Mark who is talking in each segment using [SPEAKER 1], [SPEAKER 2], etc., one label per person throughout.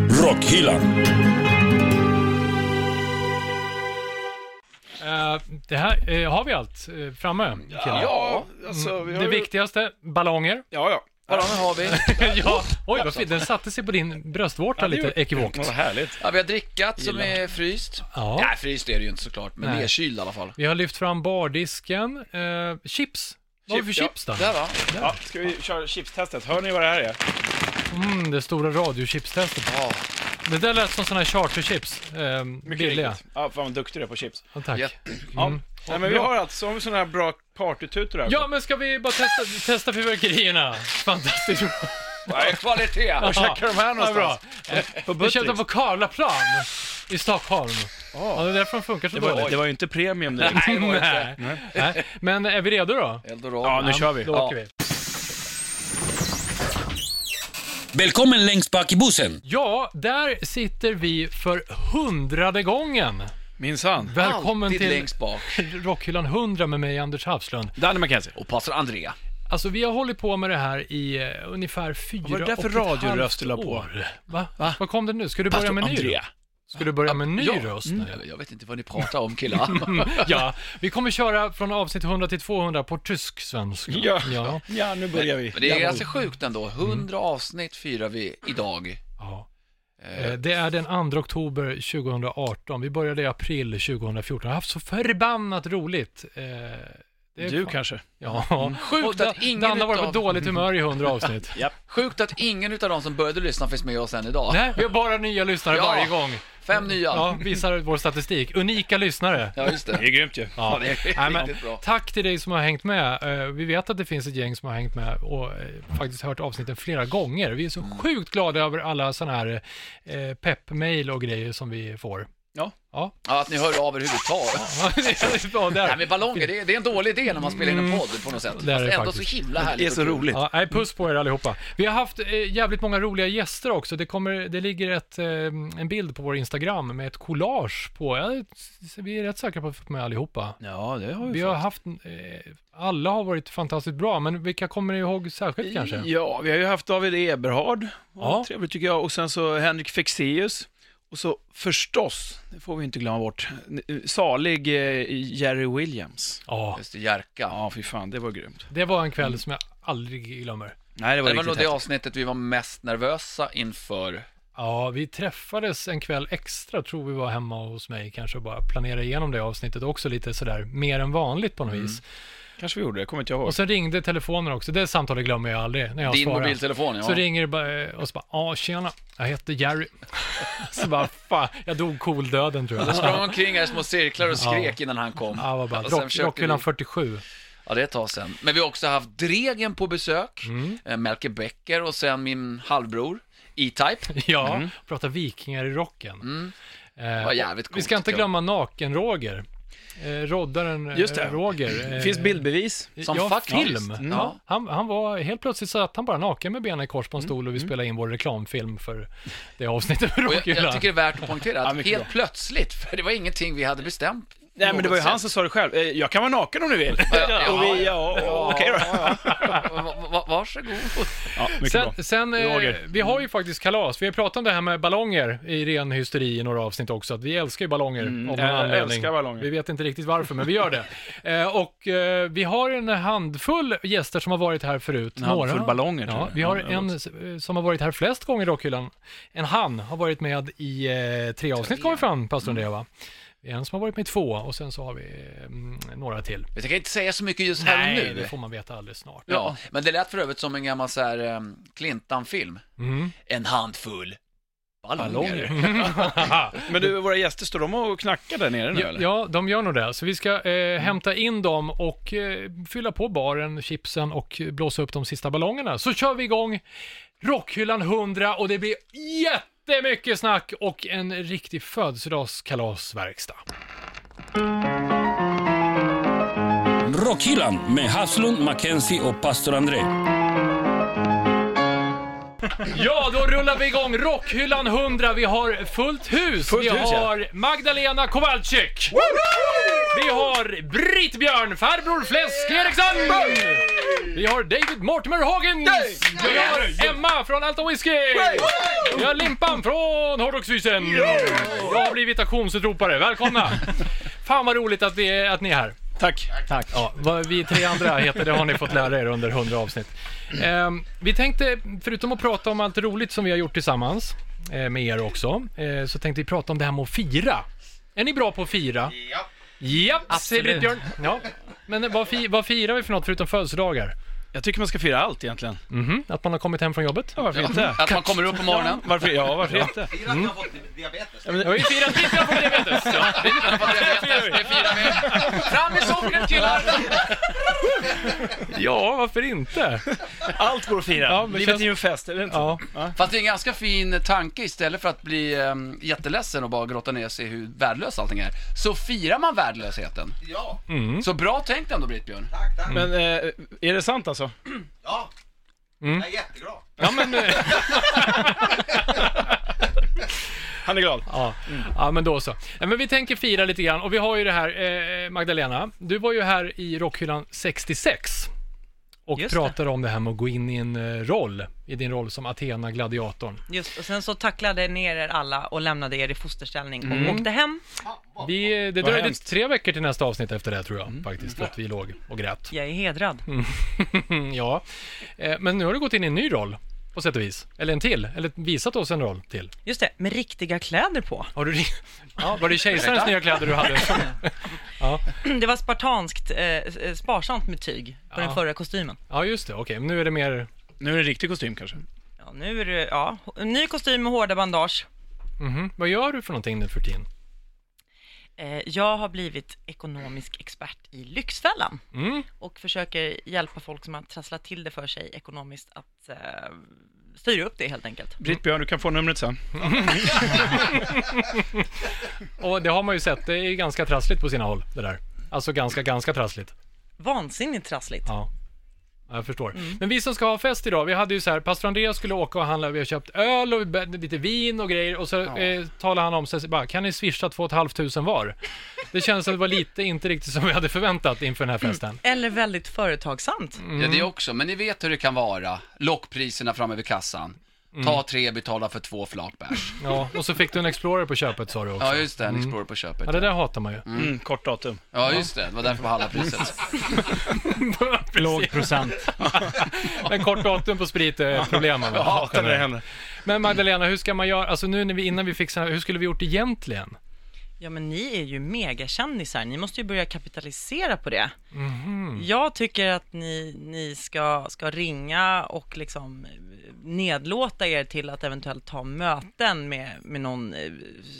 [SPEAKER 1] Rockhyllan.
[SPEAKER 2] Eh, det här, eh, har vi allt eh, framme? killar?
[SPEAKER 3] Ja, alltså vi har
[SPEAKER 2] Det
[SPEAKER 3] ju...
[SPEAKER 2] viktigaste, ballonger.
[SPEAKER 3] Ja, ja.
[SPEAKER 4] Ballongen har vi.
[SPEAKER 2] ja, oj vad fint, den satte sig på din bröstvårta lite ekivokt.
[SPEAKER 3] Vad härligt.
[SPEAKER 4] Ja, vi har drickat som är fryst.
[SPEAKER 2] Ja.
[SPEAKER 4] Nej, fryst är det ju inte såklart, men
[SPEAKER 2] Nej.
[SPEAKER 4] det är kyld i alla fall.
[SPEAKER 2] Vi har lyft fram bardisken, eh, chips. Vad har vi för
[SPEAKER 3] Chips, ja.
[SPEAKER 2] chips då?
[SPEAKER 4] Där va?
[SPEAKER 3] Ja, ska vi köra chipstestet? Hör ni vad det här är?
[SPEAKER 2] Mm, det stora radiochipstestet.
[SPEAKER 4] Ja,
[SPEAKER 2] Det där lät som sådana här charterchips. Eh, billiga.
[SPEAKER 3] riktigt. Ja, fan vad duktig du är på chips.
[SPEAKER 2] Ja, tack.
[SPEAKER 4] jätte...
[SPEAKER 3] Ja. Nej, men vi
[SPEAKER 2] Bra.
[SPEAKER 3] har alltså sådana här bra partytutor
[SPEAKER 4] Alltså.
[SPEAKER 3] här.
[SPEAKER 2] Ja, men ska vi bara testa, testa fyrverkerierna? Fantastiskt bra.
[SPEAKER 4] Vad är kvalitet?
[SPEAKER 2] Var
[SPEAKER 3] käkar de här någonstans?
[SPEAKER 2] På Jag köpte dem på Karlaplan i Stockholm. Ja, det är därför de funkar så
[SPEAKER 3] Det var,
[SPEAKER 2] dåligt.
[SPEAKER 3] det var ju inte premium direkt.
[SPEAKER 4] Nej, det var inte.
[SPEAKER 2] Nej. Nej. Men är vi redo då?
[SPEAKER 4] Eldorado.
[SPEAKER 3] Ja, nu kör vi.
[SPEAKER 2] Då
[SPEAKER 4] Ja.
[SPEAKER 2] åker vi.
[SPEAKER 1] Välkommen längst bak i bussen.
[SPEAKER 2] Ja, där sitter vi för hundrade gången.
[SPEAKER 3] Minsann.
[SPEAKER 2] Välkommen
[SPEAKER 4] Alltid
[SPEAKER 2] till
[SPEAKER 4] längst bak.
[SPEAKER 2] Rockhyllan 100 med mig, Anders Hafslund.
[SPEAKER 3] Danny McKenzie.
[SPEAKER 4] Och pastor Andrea.
[SPEAKER 2] Alltså, vi har hållit på med det här i eh, ungefär fyra
[SPEAKER 3] var det där för
[SPEAKER 2] och ett halvt
[SPEAKER 3] radioröst du la på?
[SPEAKER 2] år. Va? Va? Vad kom det nu? Ska du börja med ny röst? Ska du börja med ny röst nu?
[SPEAKER 4] Jag- Jag vet inte vad ni pratar om killar.
[SPEAKER 2] Ja, vi kommer köra från avsnitt 100 till 200 på tysk-svenska.
[SPEAKER 3] Ja.
[SPEAKER 2] ja. Mm.
[SPEAKER 3] Ja, nu börjar vi.
[SPEAKER 4] Men det är alltså ganska sjukt ändå. 100 avsnitt firar vi idag.
[SPEAKER 2] Ja. Eh, Det är den 2 oktober 2018. Vi började i april 2014. Jag har haft så förbannat roligt. Eh, det är
[SPEAKER 3] Du
[SPEAKER 2] fan-
[SPEAKER 3] kanske.
[SPEAKER 2] Ja.
[SPEAKER 4] Mm. Sjukt
[SPEAKER 2] Och Dan-
[SPEAKER 4] att ingen
[SPEAKER 2] Danne har varit på
[SPEAKER 4] utav-
[SPEAKER 2] dåligt humör i 100 avsnitt.
[SPEAKER 4] Sjukt att ingen utav de som började lyssna finns med oss än idag.
[SPEAKER 2] Nej, vi har bara nya lyssnare
[SPEAKER 4] Ja.
[SPEAKER 2] varje gång.
[SPEAKER 4] Fem nya.
[SPEAKER 2] Ja,
[SPEAKER 4] Ja,
[SPEAKER 2] visar vår statistik. Unika lyssnare.
[SPEAKER 4] just
[SPEAKER 3] Det
[SPEAKER 4] det.
[SPEAKER 3] är grymt ju.
[SPEAKER 2] Ja,
[SPEAKER 4] det är
[SPEAKER 2] Nej, men
[SPEAKER 4] riktigt bra.
[SPEAKER 2] Tack till dig som har hängt med. Eh, Vi vet att det finns ett gäng som har hängt med och eh, faktiskt hört avsnitten flera gånger. Vi är så sjukt glada över alla sådana här eh, peppmail och grejer som vi får.
[SPEAKER 3] Ja.
[SPEAKER 2] Ja,
[SPEAKER 4] Ja, att ni hör av er huvudtaget.
[SPEAKER 2] ja det är bra
[SPEAKER 4] Nej
[SPEAKER 2] där.
[SPEAKER 4] men ballonger, det är, det är en dålig idé när man spelar in en podd på något sätt.
[SPEAKER 2] Mm. Det är det
[SPEAKER 4] Fast ändå
[SPEAKER 2] faktiskt.
[SPEAKER 4] så himla härligt.
[SPEAKER 3] Det är så
[SPEAKER 4] och kul.
[SPEAKER 3] roligt.
[SPEAKER 2] Ja, nej, puss på er allihopa. Vi har haft eh, jävligt många roliga gäster också. Det, kommer, det ligger ett, eh, en bild på vår Instagram med ett collage på. Jag, vi är rätt säkra på att vi fått med allihopa.
[SPEAKER 3] Ja, det har
[SPEAKER 2] Vi har haft, eh, alla har varit fantastiskt bra, men vilka kommer ni ihåg särskilt kanske?
[SPEAKER 3] Ja, vi har ju haft David Eberhard.
[SPEAKER 2] Ja.
[SPEAKER 3] Ja. Trevligt tycker jag. Och sen så Henrik Fexeus. Och så förstås, det får vi inte glömma bort, salig eh, Jerry Williams.
[SPEAKER 2] Ja,
[SPEAKER 4] Just det, Jerka.
[SPEAKER 3] Ja, fy fan, det var grymt.
[SPEAKER 2] det var en kväll som jag aldrig glömmer.
[SPEAKER 3] Nej, det var
[SPEAKER 4] Det var nog
[SPEAKER 3] riktigt
[SPEAKER 4] det
[SPEAKER 3] häftigt.
[SPEAKER 4] avsnittet vi var mest nervösa inför.
[SPEAKER 2] Ja, vi träffades en kväll extra, tror vi var hemma hos mig kanske, och bara planerade igenom det avsnittet också lite sådär, mer än vanligt på något
[SPEAKER 4] Mm.
[SPEAKER 2] vis.
[SPEAKER 3] Kanske vi gjorde det, kommer inte jag ihåg.
[SPEAKER 2] Och sen ringde telefonen också, det samtalet glömmer jag aldrig när jag
[SPEAKER 4] Din
[SPEAKER 2] svarar.
[SPEAKER 4] mobiltelefon, ja.
[SPEAKER 2] Så ringer det bara, eh, och så bara, ja tjena, jag heter Jerry. så bara, fan, jag dog koldöden tror
[SPEAKER 4] Då
[SPEAKER 2] jag.
[SPEAKER 4] sprang omkring här i små cirklar och skrek innan han kom.
[SPEAKER 2] Ja, vad bra.
[SPEAKER 4] Och sen
[SPEAKER 2] Rock-
[SPEAKER 4] försökte
[SPEAKER 2] Rockhyllan
[SPEAKER 4] vi-
[SPEAKER 2] 47.
[SPEAKER 4] Ja, det är ett tag sedan. Men vi har också haft Dregen på besök,
[SPEAKER 2] Mm.
[SPEAKER 4] eh, Melker Becker och sen min halvbror E-Type. Mm.
[SPEAKER 2] Ja, prata vikingar i rocken. Eh,
[SPEAKER 4] Vad jävligt
[SPEAKER 2] vi
[SPEAKER 4] coolt,
[SPEAKER 2] ska inte
[SPEAKER 4] tycker jag.
[SPEAKER 2] glömma Naken-Roger. Eh, roddaren eh,
[SPEAKER 3] Just det.
[SPEAKER 2] Roger. Eh,
[SPEAKER 3] Finns bildbevis?
[SPEAKER 4] Som
[SPEAKER 2] ja,
[SPEAKER 4] faktiskt.
[SPEAKER 2] film.
[SPEAKER 4] Mm.
[SPEAKER 2] Ja.
[SPEAKER 4] Ja. Mm.
[SPEAKER 2] Han, han var, helt plötsligt satt han bara naken med benen i kors på en stol och vi spelade in vår reklamfilm för det avsnittet med
[SPEAKER 4] Och jag, jag
[SPEAKER 2] Rockhyllan.
[SPEAKER 4] tycker det är värt att poängtera att
[SPEAKER 3] Ja, mycket
[SPEAKER 4] helt
[SPEAKER 3] bra.
[SPEAKER 4] plötsligt, för det var ingenting vi hade bestämt. på
[SPEAKER 3] Nej, men det
[SPEAKER 4] något
[SPEAKER 3] var ju
[SPEAKER 4] sätt.
[SPEAKER 3] han som sa det själv. Eh, Jag kan vara naken om ni vill.
[SPEAKER 4] Ja,
[SPEAKER 3] Och vi, ja, ja, okej då.
[SPEAKER 4] ja, ja. Va- va- Varsågod.
[SPEAKER 3] Ja, mycket bra.
[SPEAKER 2] Sen, sen eh,
[SPEAKER 3] Roger.
[SPEAKER 2] vi har ju faktiskt kalas. Vi har pratat om det här med ballonger i ren hysteri i några avsnitt också. Att vi älskar ju ballonger av någon
[SPEAKER 3] Mm, jag
[SPEAKER 2] anledning.
[SPEAKER 3] älskar ballonger.
[SPEAKER 2] Vi vet inte riktigt varför, men vi gör det. eh, och eh, vi har en handfull gäster som har varit här förut. En
[SPEAKER 3] handfull ballonger, tror
[SPEAKER 2] Ja,
[SPEAKER 3] jag.
[SPEAKER 2] vi har
[SPEAKER 3] Ja,
[SPEAKER 2] en eh, som har varit här flest gånger i Rockhyllan. En han har varit med i eh, tre avsnitt, kommer fram,
[SPEAKER 3] Mm.
[SPEAKER 2] pastor Andrea, va? En som har varit med i två och sen så har vi eh, mm, några till.
[SPEAKER 4] Jag kan inte säga så mycket just här och
[SPEAKER 2] Nej,
[SPEAKER 4] nu.
[SPEAKER 2] det får man veta alldeles snart.
[SPEAKER 4] Ja, men det lät för övrigt som en gammal så här ehm, Clintan-film.
[SPEAKER 2] Mm.
[SPEAKER 4] En handfull ballonger.
[SPEAKER 3] Ballonger. Men du, våra gäster, står de och knackar där nere nu
[SPEAKER 2] Ja,
[SPEAKER 3] eller? Mm.
[SPEAKER 2] ja, de gör nog det. Så vi ska eh, hämta in dem och eh, fylla på baren, chipsen och blåsa upp de sista ballongerna. Så kör vi igång Rockhyllan 100 och det blir jättemycket snack och en riktig födelsedagskalasverkstad.
[SPEAKER 1] Rockhyllan med Haslund, Mackenzie och pastor André.
[SPEAKER 2] Ja, då rullar vi igång Rockhyllan 100. Vi har fullt hus.
[SPEAKER 3] Fullt
[SPEAKER 2] vi
[SPEAKER 3] hus, ja.
[SPEAKER 2] har Magdalena Kowalczyk. Vi har Britt Björn, Farbror Fläsk Eriksson. Vi har David Mortimer Hagens. Vi har Emma från Alta Whisky. Vi har Limpan från Hårdrockshusen. Jag har blivit auktionsutropare. Välkomna. Fan vad roligt att, vi, att ni är här.
[SPEAKER 3] Tack.
[SPEAKER 2] Tack. Ja, vad vi tre andra heter, det har ni fått lära er under 100 avsnitt. Ehm, vi tänkte, förutom att prata om allt roligt som vi har gjort tillsammans, eh, med er också, eh, så tänkte vi prata om det här med att fira. Är ni bra på att fira? Ja. Japp, säger
[SPEAKER 5] Absolut.
[SPEAKER 2] Britt-Björn. Ja. Men vad, fi- vad firar vi för något förutom födelsedagar?
[SPEAKER 3] Jag tycker man ska fira allt egentligen.
[SPEAKER 2] Mhm, att man har kommit hem från jobbet? Ja,
[SPEAKER 3] Varför inte?
[SPEAKER 4] Att man kommer upp på morgonen.
[SPEAKER 3] Varför, ja, varför inte? Mm.
[SPEAKER 6] Fira att ni har fått diabetes.
[SPEAKER 2] Jag har ju firat lite, jag har fått diabetes. Ja.
[SPEAKER 4] Det firar vi.
[SPEAKER 5] Fram med sockret killar!
[SPEAKER 2] ja, varför inte?
[SPEAKER 3] Allt går att fira.
[SPEAKER 2] Ja, men
[SPEAKER 3] Livet
[SPEAKER 2] känns-
[SPEAKER 3] är ju en fest, är det inte?
[SPEAKER 2] Ja.
[SPEAKER 4] Fast det är en ganska fin tanke istället för att bli um, jätteledsen och bara grotta ner sig i hur värdelös allting är. Så firar man värdelösheten.
[SPEAKER 6] Ja,
[SPEAKER 4] Så bra tänkt ändå Britt-Björn.
[SPEAKER 6] tack, tack.
[SPEAKER 3] Men eh, är det sant alltså?
[SPEAKER 6] Ja.
[SPEAKER 2] Mm.
[SPEAKER 6] Jag är jätteglad.
[SPEAKER 2] Ja, men, eh,
[SPEAKER 3] Han är glad.
[SPEAKER 2] Ja,
[SPEAKER 5] Mm.
[SPEAKER 2] ja men då så. Ja, men vi tänker fira lite grann och vi har ju det här, eh, Magdalena, du var ju här i Rockhyllan 66 och
[SPEAKER 5] Just det.
[SPEAKER 2] pratade om det här med att gå in i en eh, roll, i din roll som Athena Gladiatorn.
[SPEAKER 5] Just, och sen så tacklade jag ner er alla och lämnade er i fosterställning och
[SPEAKER 4] Mm.
[SPEAKER 5] åkte hem.
[SPEAKER 2] Vi, eh, det dröjde
[SPEAKER 3] hemskt.
[SPEAKER 2] tre veckor till nästa avsnitt efter det tror jag faktiskt, för att vi låg och grät.
[SPEAKER 5] Mm.
[SPEAKER 2] Mm.
[SPEAKER 5] Jag är hedrad.
[SPEAKER 2] ja, eh, men nu har du gått in i en ny roll på sätt och vis, eller en till, eller visat oss en roll till.
[SPEAKER 5] Just det, med riktiga kläder på.
[SPEAKER 2] Har du, ja, var det kejsarens nya kläder du hade?
[SPEAKER 5] Det var spartanskt, eh, eh, sparsamt med tyg på
[SPEAKER 2] Ja.
[SPEAKER 5] den förra kostymen.
[SPEAKER 2] Ja, just det, okej, men nu är det mer,
[SPEAKER 3] Nu är det en riktig kostym kanske.
[SPEAKER 5] Ja, nu är det, ja, en ny kostym med hårda bandage.
[SPEAKER 2] mhm, vad gör du för någonting nu för tiden?
[SPEAKER 5] Eh, jag har blivit ekonomisk expert i Lyxfällan
[SPEAKER 2] Mm.
[SPEAKER 5] och försöker hjälpa folk som har trasslat till det för sig ekonomiskt att eh, styra upp det helt enkelt.
[SPEAKER 3] Britt Björn, du kan få numret sen.
[SPEAKER 2] Och det har man ju sett, det är ganska trassligt på sina håll det där. Alltså ganska, ganska trassligt.
[SPEAKER 5] Vansinnigt trassligt.
[SPEAKER 2] Ja. Ja, Jag förstår.
[SPEAKER 5] Mm.
[SPEAKER 2] Men vi som ska ha fest idag, vi hade ju så här, pastor Andreas skulle åka och handla, vi har köpt öl och vi be- lite vin och grejer och så eh, talade han om sig, bara, kan ni swisha 2 500 var? Det känns som det var lite, inte riktigt som vi hade förväntat inför den här festen.
[SPEAKER 5] Eller väldigt företagsamt.
[SPEAKER 2] Mm.
[SPEAKER 4] Ja, det också. Men ni vet hur det kan vara. Lockpriserna framme vid kassan. Ta tre, betala för två flatbärs.
[SPEAKER 2] Ja, och så fick du en Explorer på köpet sa du också. Mm.
[SPEAKER 4] Ja, just det. En Explorer på köpet.
[SPEAKER 2] Ja, det där hatar man ju.
[SPEAKER 3] Mm, kort datum.
[SPEAKER 4] Ja, just det. Det var därför på halva priset.
[SPEAKER 2] Låg procent. Men kort datum på sprit är ett problem. va?
[SPEAKER 3] Hatar när det händer.
[SPEAKER 2] Men Magdalena, hur ska man göra? Alltså nu när vi, innan vi fixar det här, hur skulle vi gjort egentligen?
[SPEAKER 5] Ja, men ni är ju megakändisar. Ni måste ju börja kapitalisera på det.
[SPEAKER 2] Mhm.
[SPEAKER 5] Jag tycker att ni, ni ska, ska ringa och liksom eh, nedlåta er till att eventuellt ta möten med, med någon eh,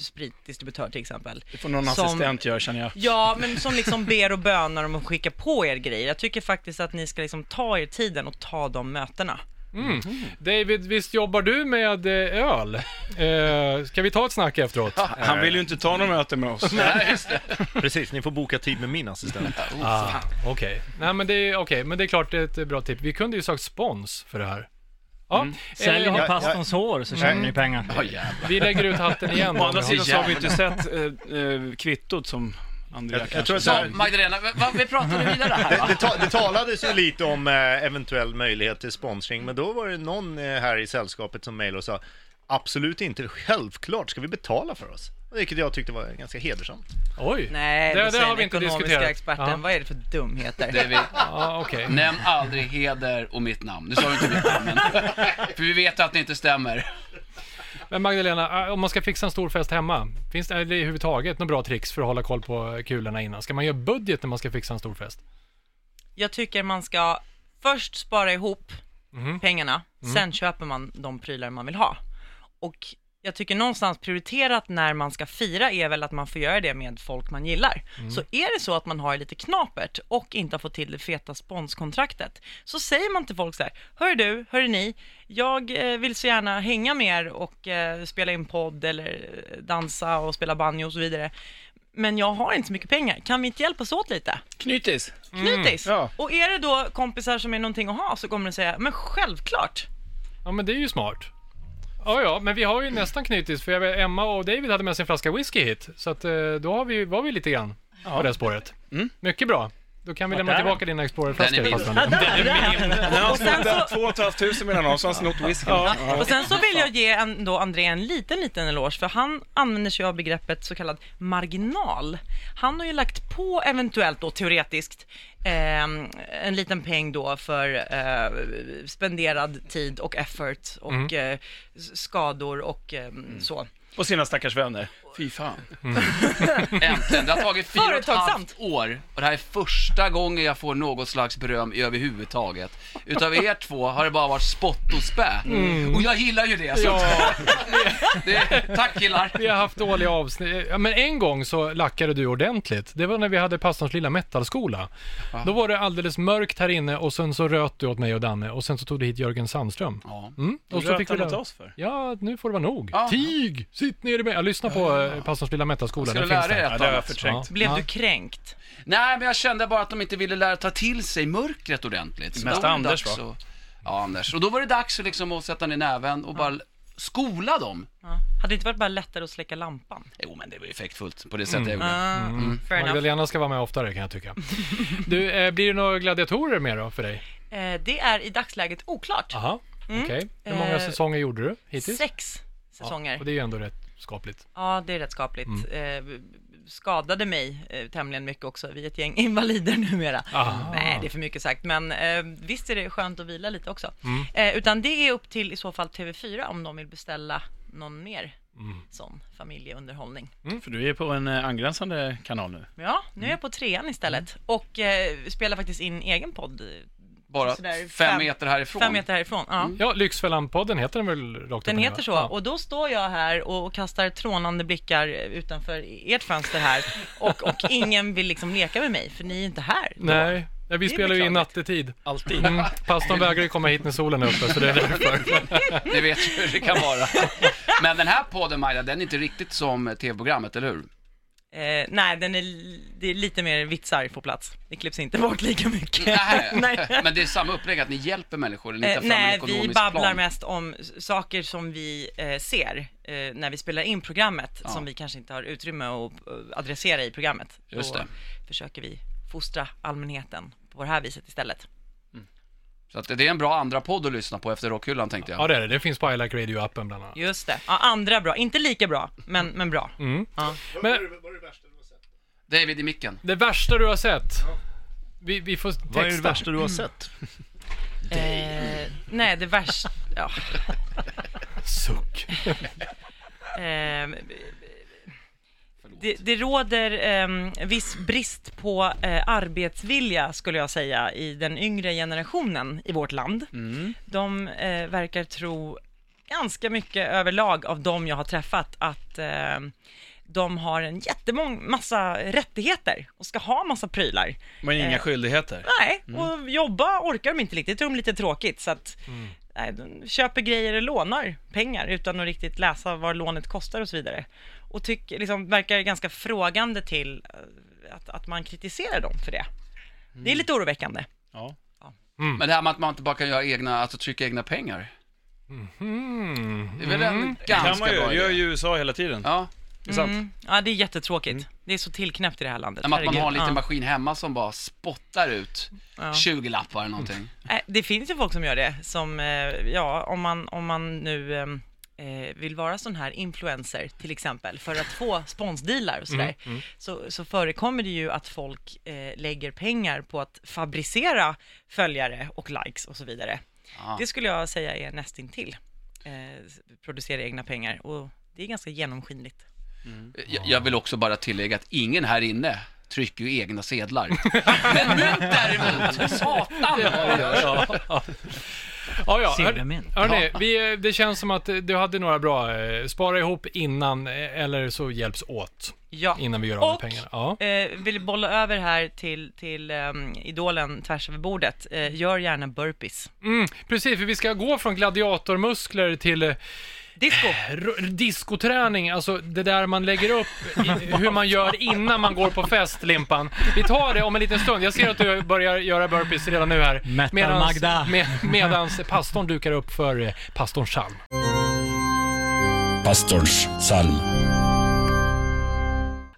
[SPEAKER 5] spritdistributör till exempel.
[SPEAKER 3] Det får någon
[SPEAKER 5] Som-
[SPEAKER 3] assistent göra känner jag.
[SPEAKER 5] Ja, men som liksom ber och bönar om att skicka på er grejer. Jag tycker faktiskt att ni ska liksom ta er tiden och ta de mötena.
[SPEAKER 2] Mm.
[SPEAKER 4] Mhm.
[SPEAKER 2] David, visst jobbar du med eh, öl? Eh, ska vi ta ett snack efteråt?
[SPEAKER 3] Han vill ju inte ta något möte med oss.
[SPEAKER 7] Precis, ni får boka tid med min assistent.
[SPEAKER 4] Oh,
[SPEAKER 2] Ah, Okej, Nej, men, det är- okej, men det är klart det är ett bra tips. Vi kunde ju sagt spons för det här. Ja,
[SPEAKER 4] Mm.
[SPEAKER 8] Säljer
[SPEAKER 2] eh,
[SPEAKER 8] ni pastorns hår så tjänar ni pengar.
[SPEAKER 2] Mm.
[SPEAKER 4] Ja, jävlar.
[SPEAKER 2] vi lägger ut hatten igen.
[SPEAKER 3] Å andra
[SPEAKER 2] om vi
[SPEAKER 3] sidan så har vi inte sett eh, eh, kvittot som Andrea
[SPEAKER 7] Jag, jag
[SPEAKER 3] kanske.
[SPEAKER 7] tror att
[SPEAKER 4] Så,
[SPEAKER 7] det,
[SPEAKER 4] Magdalena, vad- vad- vi pratade vidare här va?
[SPEAKER 7] det, ta, det talades ju lite om eh, eventuell möjlighet till sponsring, men då var det någon eh, här i sällskapet som mejlade och sa absolut inte, självklart ska vi betala för oss. Vilket jag tyckte var ganska hedersamt.
[SPEAKER 2] har- Oj,
[SPEAKER 5] Nej,
[SPEAKER 2] det,
[SPEAKER 5] men
[SPEAKER 2] det
[SPEAKER 5] säger
[SPEAKER 2] har
[SPEAKER 5] den
[SPEAKER 2] vi inte
[SPEAKER 5] ekonomiska
[SPEAKER 2] diskuterat.
[SPEAKER 5] experten,
[SPEAKER 2] Ja,
[SPEAKER 5] vad är det för dumheter?
[SPEAKER 4] Det är vi.
[SPEAKER 2] ja, okej.
[SPEAKER 4] Nämn aldrig heder och mitt namn. Nu sa du inte mitt namn, men... För vi vet att det inte stämmer.
[SPEAKER 2] Men Magdalena, eh, om man ska fixa en stor fest hemma, finns det eller överhuvudtaget några bra tricks för att hålla koll på kulorna innan? Ska man göra budget när man ska fixa en stor fest?
[SPEAKER 5] Jag tycker man ska först spara ihop pengarna, sen köper man de prylar man vill ha. Och jag tycker någonstans prioriterat när man ska fira är väl att man får göra det med folk man gillar. Så är det så att man har lite knapert och inte har fått till det feta sponskontraktet, så säger man till folk så här, hör du, hör ni, jag eh, vill så gärna hänga med er och eh, spela in podd eller eh, dansa och spela banjo och så vidare. Men jag har inte så mycket pengar, kan vi inte hjälpas åt lite?
[SPEAKER 3] Knytis.
[SPEAKER 5] Knytis!
[SPEAKER 3] ja.
[SPEAKER 2] Mm.
[SPEAKER 5] Och är det då kompisar som är någonting att ha så kommer de säga, men självklart!
[SPEAKER 2] Ja, men det är ju smart. Ja, ja, men vi har ju nästan knutit för jag vet, Emma och David hade med sig en flaska whisky hit. Så att, eh, då har vi, var vi lite grann på det spåret. Mycket bra. Då kan vi lämna
[SPEAKER 8] är
[SPEAKER 2] tillbaka dina Explorer-flaskor.
[SPEAKER 4] Mm. Den
[SPEAKER 2] Fabian.
[SPEAKER 4] är min.
[SPEAKER 8] Ja, där, där.
[SPEAKER 3] Den har
[SPEAKER 5] sen
[SPEAKER 3] smittat 2 500 medan någon så har snott whisky.
[SPEAKER 5] Och sen så vill jag ge en, då André en liten, liten eloge för han använder sig av begreppet så kallad marginal. Han har ju lagt på eventuellt då teoretiskt eh, en liten peng då för eh, spenderad tid och effort och
[SPEAKER 2] Mm.
[SPEAKER 5] eh, s- skador och eh, så.
[SPEAKER 3] På sina stackars vänner. Fy fan.
[SPEAKER 2] Mm.
[SPEAKER 4] Äntligen. Det har tagit fyra och ett halvt
[SPEAKER 5] Företagsamt.
[SPEAKER 4] år och det här är första gången jag får något slags beröm i överhuvudtaget. Utav er två har det bara varit spott och spä.
[SPEAKER 3] Mm.
[SPEAKER 4] Och jag gillar ju det. Så
[SPEAKER 2] Ja,
[SPEAKER 4] det, tack killar.
[SPEAKER 2] vi har haft dåliga avsnitt. Ja, men en gång så lackade du ordentligt. Det var när vi hade pastorns lilla metalskola. Då var det alldeles mörkt här inne och sen så röt du åt mig och Danne och sen så tog du hit Jörgen Sandström.
[SPEAKER 4] Ja.
[SPEAKER 2] Mm. Och så
[SPEAKER 3] Röt
[SPEAKER 2] fick vi
[SPEAKER 3] han åt
[SPEAKER 2] lära-
[SPEAKER 3] oss för?
[SPEAKER 2] Ja, nu får det vara nog.
[SPEAKER 4] Ja.
[SPEAKER 2] Tyg! Sitt ner i bänken. Ja, Lyssna på ja. pastorns lilla metalskola.
[SPEAKER 4] Ska
[SPEAKER 2] den
[SPEAKER 4] du lära
[SPEAKER 2] finns
[SPEAKER 4] dig
[SPEAKER 2] där.
[SPEAKER 4] ett
[SPEAKER 3] Ja, det har jag
[SPEAKER 4] annat?
[SPEAKER 3] förträngt.
[SPEAKER 5] Blev
[SPEAKER 2] Ja.
[SPEAKER 5] du kränkt?
[SPEAKER 4] Nej, men jag kände bara att de inte ville lära ta till sig mörkret ordentligt. Så
[SPEAKER 3] Mest
[SPEAKER 4] då var det
[SPEAKER 3] Anders,
[SPEAKER 4] dags
[SPEAKER 3] va?
[SPEAKER 4] att- Ja, Anders. Och då var det dags att liksom att sätta ner näven och bara skola dem.
[SPEAKER 5] Ja. Hade det inte varit bara lättare att släcka lampan?
[SPEAKER 4] Jo, men det var ju effektfullt på det sättet jag gjorde.
[SPEAKER 5] Ah, Fair enough.
[SPEAKER 2] Mm. Magdalena ska vara med oftare kan jag tycka. Du, eh, blir det några gladiatorer mer då för dig?
[SPEAKER 5] Eh, det är i dagsläget oklart.
[SPEAKER 2] Aha, okej. Hur många
[SPEAKER 5] Eh,
[SPEAKER 2] säsonger gjorde du hittills?
[SPEAKER 5] Sex säsonger.
[SPEAKER 2] Och det Mm. är ju ändå rätt skapligt.
[SPEAKER 5] Ja, det är rätt skapligt. Eh, skadade mig eh, tämligen mycket också. Vi är ett gäng invalider numera.
[SPEAKER 2] Aha.
[SPEAKER 5] Nej, det är för mycket sagt, men eh, visst är det skönt att vila lite också.
[SPEAKER 2] Mm.
[SPEAKER 5] Eh, utan det är upp till i så fall TV4 om de vill beställa någon mer
[SPEAKER 2] Mm.
[SPEAKER 5] sån familjeunderhållning.
[SPEAKER 3] För du är på en eh, angränsande kanal nu.
[SPEAKER 5] Ja, nu är jag på trean istället
[SPEAKER 2] Mm.
[SPEAKER 5] och eh, spelar faktiskt in egen podd eh,
[SPEAKER 4] Bara
[SPEAKER 5] sådär
[SPEAKER 4] fem,
[SPEAKER 5] fem-
[SPEAKER 4] meter härifrån. Mm.
[SPEAKER 5] fem meter härifrån. Ja.
[SPEAKER 2] Ja, Lyxfällan-podden heter den väl rakt upp
[SPEAKER 5] Den
[SPEAKER 2] och ner,
[SPEAKER 5] heter så
[SPEAKER 2] va?
[SPEAKER 5] och då står jag här och kastar trånande blickar utanför ert fönster här och, och ingen vill liksom leka med mig för ni är inte här. då.
[SPEAKER 2] Nej, ja, vi
[SPEAKER 5] Det är
[SPEAKER 2] spelar ju in
[SPEAKER 5] beklagligt.
[SPEAKER 2] nattetid.
[SPEAKER 3] Alltid.
[SPEAKER 2] Mm. Pastorn vägrar ju komma hit när solen är uppe, så det är därför.
[SPEAKER 4] Ni vet ju hur det kan vara. Men den här podden, Maja, den är inte riktigt som tv-programmet, eller hur?
[SPEAKER 5] Eh, nej, den är, li- det är lite mer vitsar på plats. Det klipps inte bort lika mycket.
[SPEAKER 4] Nej.
[SPEAKER 5] Nej.
[SPEAKER 4] Men det är samma upplägg, att ni hjälper människor, ni tar
[SPEAKER 5] Eh,
[SPEAKER 4] fram en
[SPEAKER 5] nej,
[SPEAKER 4] ekonomisk
[SPEAKER 5] vi babblar
[SPEAKER 4] plan.
[SPEAKER 5] mest om s- saker som vi eh, ser eh, när vi spelar in programmet
[SPEAKER 4] Ja.
[SPEAKER 5] som vi kanske inte har utrymme att eh, adressera i programmet.
[SPEAKER 4] Just
[SPEAKER 5] Då
[SPEAKER 4] det.
[SPEAKER 5] försöker vi fostra allmänheten på det här viset istället.
[SPEAKER 4] Så att det är en bra andra podd att lyssna på efter rockhyllan, tänkte jag.
[SPEAKER 2] Ja, det är det. Den finns på I Like Radio-appen bland annat.
[SPEAKER 5] Just det. Ja, andra bra. Inte lika bra, men, men bra. Ja.
[SPEAKER 2] Men
[SPEAKER 4] Mm. David i micken.
[SPEAKER 2] det värsta du har sett? Vi, vi får texta.
[SPEAKER 7] Vad är det värsta du har sett?
[SPEAKER 5] Eh, nej, det värsta... Ja.
[SPEAKER 2] Suck.
[SPEAKER 5] Eh, det, det råder ehm, viss brist på eh, arbetsvilja, skulle jag säga, i den yngre generationen i vårt land. De eh, verkar tro ganska mycket överlag av de jag har träffat att eh, de har en jättemång massa rättigheter och ska ha massa prylar. Eh,
[SPEAKER 3] Men inga skyldigheter. Mm.
[SPEAKER 5] Nej, och jobba orkar de inte riktigt. Det tycker de lite tråkigt. Så att,
[SPEAKER 4] Mm.
[SPEAKER 5] nej, de köper grejer och lånar pengar utan att riktigt läsa vad lånet kostar och så vidare. Och tyck, liksom, verkar ganska frågande till eh, att, att man kritiserar dem för det. Det är
[SPEAKER 3] Mm.
[SPEAKER 5] lite oroväckande.
[SPEAKER 3] Ja.
[SPEAKER 4] Men det här med att man inte bara kan göra egna, alltså trycka egna pengar.
[SPEAKER 2] Mm.
[SPEAKER 4] Det är väl en
[SPEAKER 3] kan
[SPEAKER 4] ganska
[SPEAKER 3] man ju.
[SPEAKER 4] bra
[SPEAKER 3] Det gör
[SPEAKER 4] idé.
[SPEAKER 3] ju USA hela tiden.
[SPEAKER 4] Ja,
[SPEAKER 3] Det är sant.
[SPEAKER 5] Mm.
[SPEAKER 3] Mm.
[SPEAKER 5] Ja, det är jättetråkigt. Det är så tillknäppt i det här landet.
[SPEAKER 4] men att man
[SPEAKER 5] Herregud.
[SPEAKER 4] har en liten
[SPEAKER 5] Ja.
[SPEAKER 4] maskin hemma som bara spottar ut
[SPEAKER 5] Ja.
[SPEAKER 4] 20 lappar eller
[SPEAKER 2] Mm.
[SPEAKER 4] någonting.
[SPEAKER 5] Nej, Mm. Äh, Det finns ju folk som gör det, som, eh, ja, om man, om man nu eh, eh, vill vara sån här influencer till exempel, för att få sponsdealar och sådär,
[SPEAKER 2] Mm,
[SPEAKER 4] Mm,
[SPEAKER 5] Så, så förekommer det ju att folk eh, lägger pengar på att fabricera följare och likes och så vidare.
[SPEAKER 4] Ja.
[SPEAKER 5] Det skulle jag säga är nästintill, eh, s- producera egna pengar, och det är ganska genomskinligt.
[SPEAKER 4] Mm. Jag, jag vill också bara tillägga att ingen här inne trycker ju egna sedlar. Men mynt däremot, satan vad det gör.
[SPEAKER 2] Ja, ja.
[SPEAKER 8] Silvermynt.
[SPEAKER 2] Hör, hörni, vi, eh, det känns som att eh, du hade några bra. eh, Spara ihop innan eh, eller så hjälps åt
[SPEAKER 5] Ja.
[SPEAKER 2] innan vi gör av med
[SPEAKER 5] Och-
[SPEAKER 2] pengarna. Ja.
[SPEAKER 5] Eh, vill bolla över här till, till ehm, idolen tvärs över bordet. Eh, gör gärna burpees.
[SPEAKER 2] Mm, precis, för vi ska gå från gladiatormuskler till eh,
[SPEAKER 5] Disco.
[SPEAKER 2] R- Diskoträning, alltså det där man lägger upp i, hur man gör innan man går på fest, Limpan. Vi tar det om en liten stund. Jag ser att du börjar göra burpees redan nu här.
[SPEAKER 8] Mättar Magda.
[SPEAKER 2] Med, medans pastorn dukar upp för eh, pastorns psalm.
[SPEAKER 1] Pastorns psalm.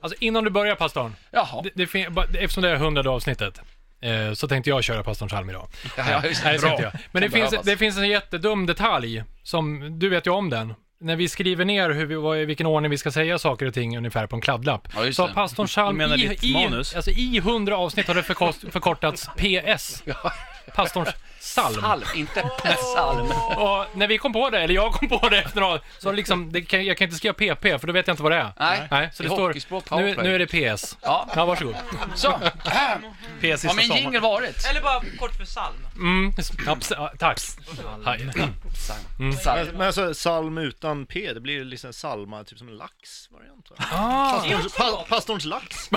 [SPEAKER 2] Alltså innan du börjar pastorn,
[SPEAKER 4] Jaha.
[SPEAKER 2] det, det, fin- bara- eftersom det är 100 avsnittet, eh, så tänkte jag köra pastorns psalm idag.
[SPEAKER 4] Ja, just
[SPEAKER 2] Nej, det ska
[SPEAKER 4] Bra.
[SPEAKER 2] inte jag. Men det
[SPEAKER 4] Kan
[SPEAKER 2] finns,
[SPEAKER 4] behövas.
[SPEAKER 2] det finns en jättedum detalj, som du vet ju om den. När vi skriver ner hur vi, vad, i vilken ordning vi ska säga saker och ting ungefär på en kladdlapp.
[SPEAKER 4] Ja, just
[SPEAKER 2] så har
[SPEAKER 4] det.
[SPEAKER 2] pastorn
[SPEAKER 3] Du
[SPEAKER 2] Psalm
[SPEAKER 3] menar
[SPEAKER 2] i,
[SPEAKER 3] ditt
[SPEAKER 2] i,
[SPEAKER 3] manus?
[SPEAKER 2] alltså, i 100 avsnitt har det förkost, förkortats PS. Pastorns psalm.
[SPEAKER 4] Salm, inte psalm.
[SPEAKER 2] Och när vi kom på det, eller jag kom på det efter något, så har det liksom, det kan, jag kan inte skriva PP för då vet jag inte vad det är.
[SPEAKER 4] Nej.
[SPEAKER 2] så
[SPEAKER 4] I
[SPEAKER 2] det står,
[SPEAKER 4] hockeyspråk,
[SPEAKER 2] nu,
[SPEAKER 4] powerplay.
[SPEAKER 2] nu är det PS.
[SPEAKER 4] Ja.
[SPEAKER 2] ja varsågod.
[SPEAKER 4] Så, har
[SPEAKER 3] PS sista
[SPEAKER 4] min
[SPEAKER 3] sommaren.
[SPEAKER 4] jingel varit?
[SPEAKER 5] Eller bara kort för psalm.
[SPEAKER 2] Mm, ja, ps- ja, tack. Hej.
[SPEAKER 4] Psalm.
[SPEAKER 7] Men, men alltså psalm utan P, det blir ju liksom salma, typ som en lax-variant va?
[SPEAKER 2] Ah,
[SPEAKER 7] Pastorns, pa, pastorns lax.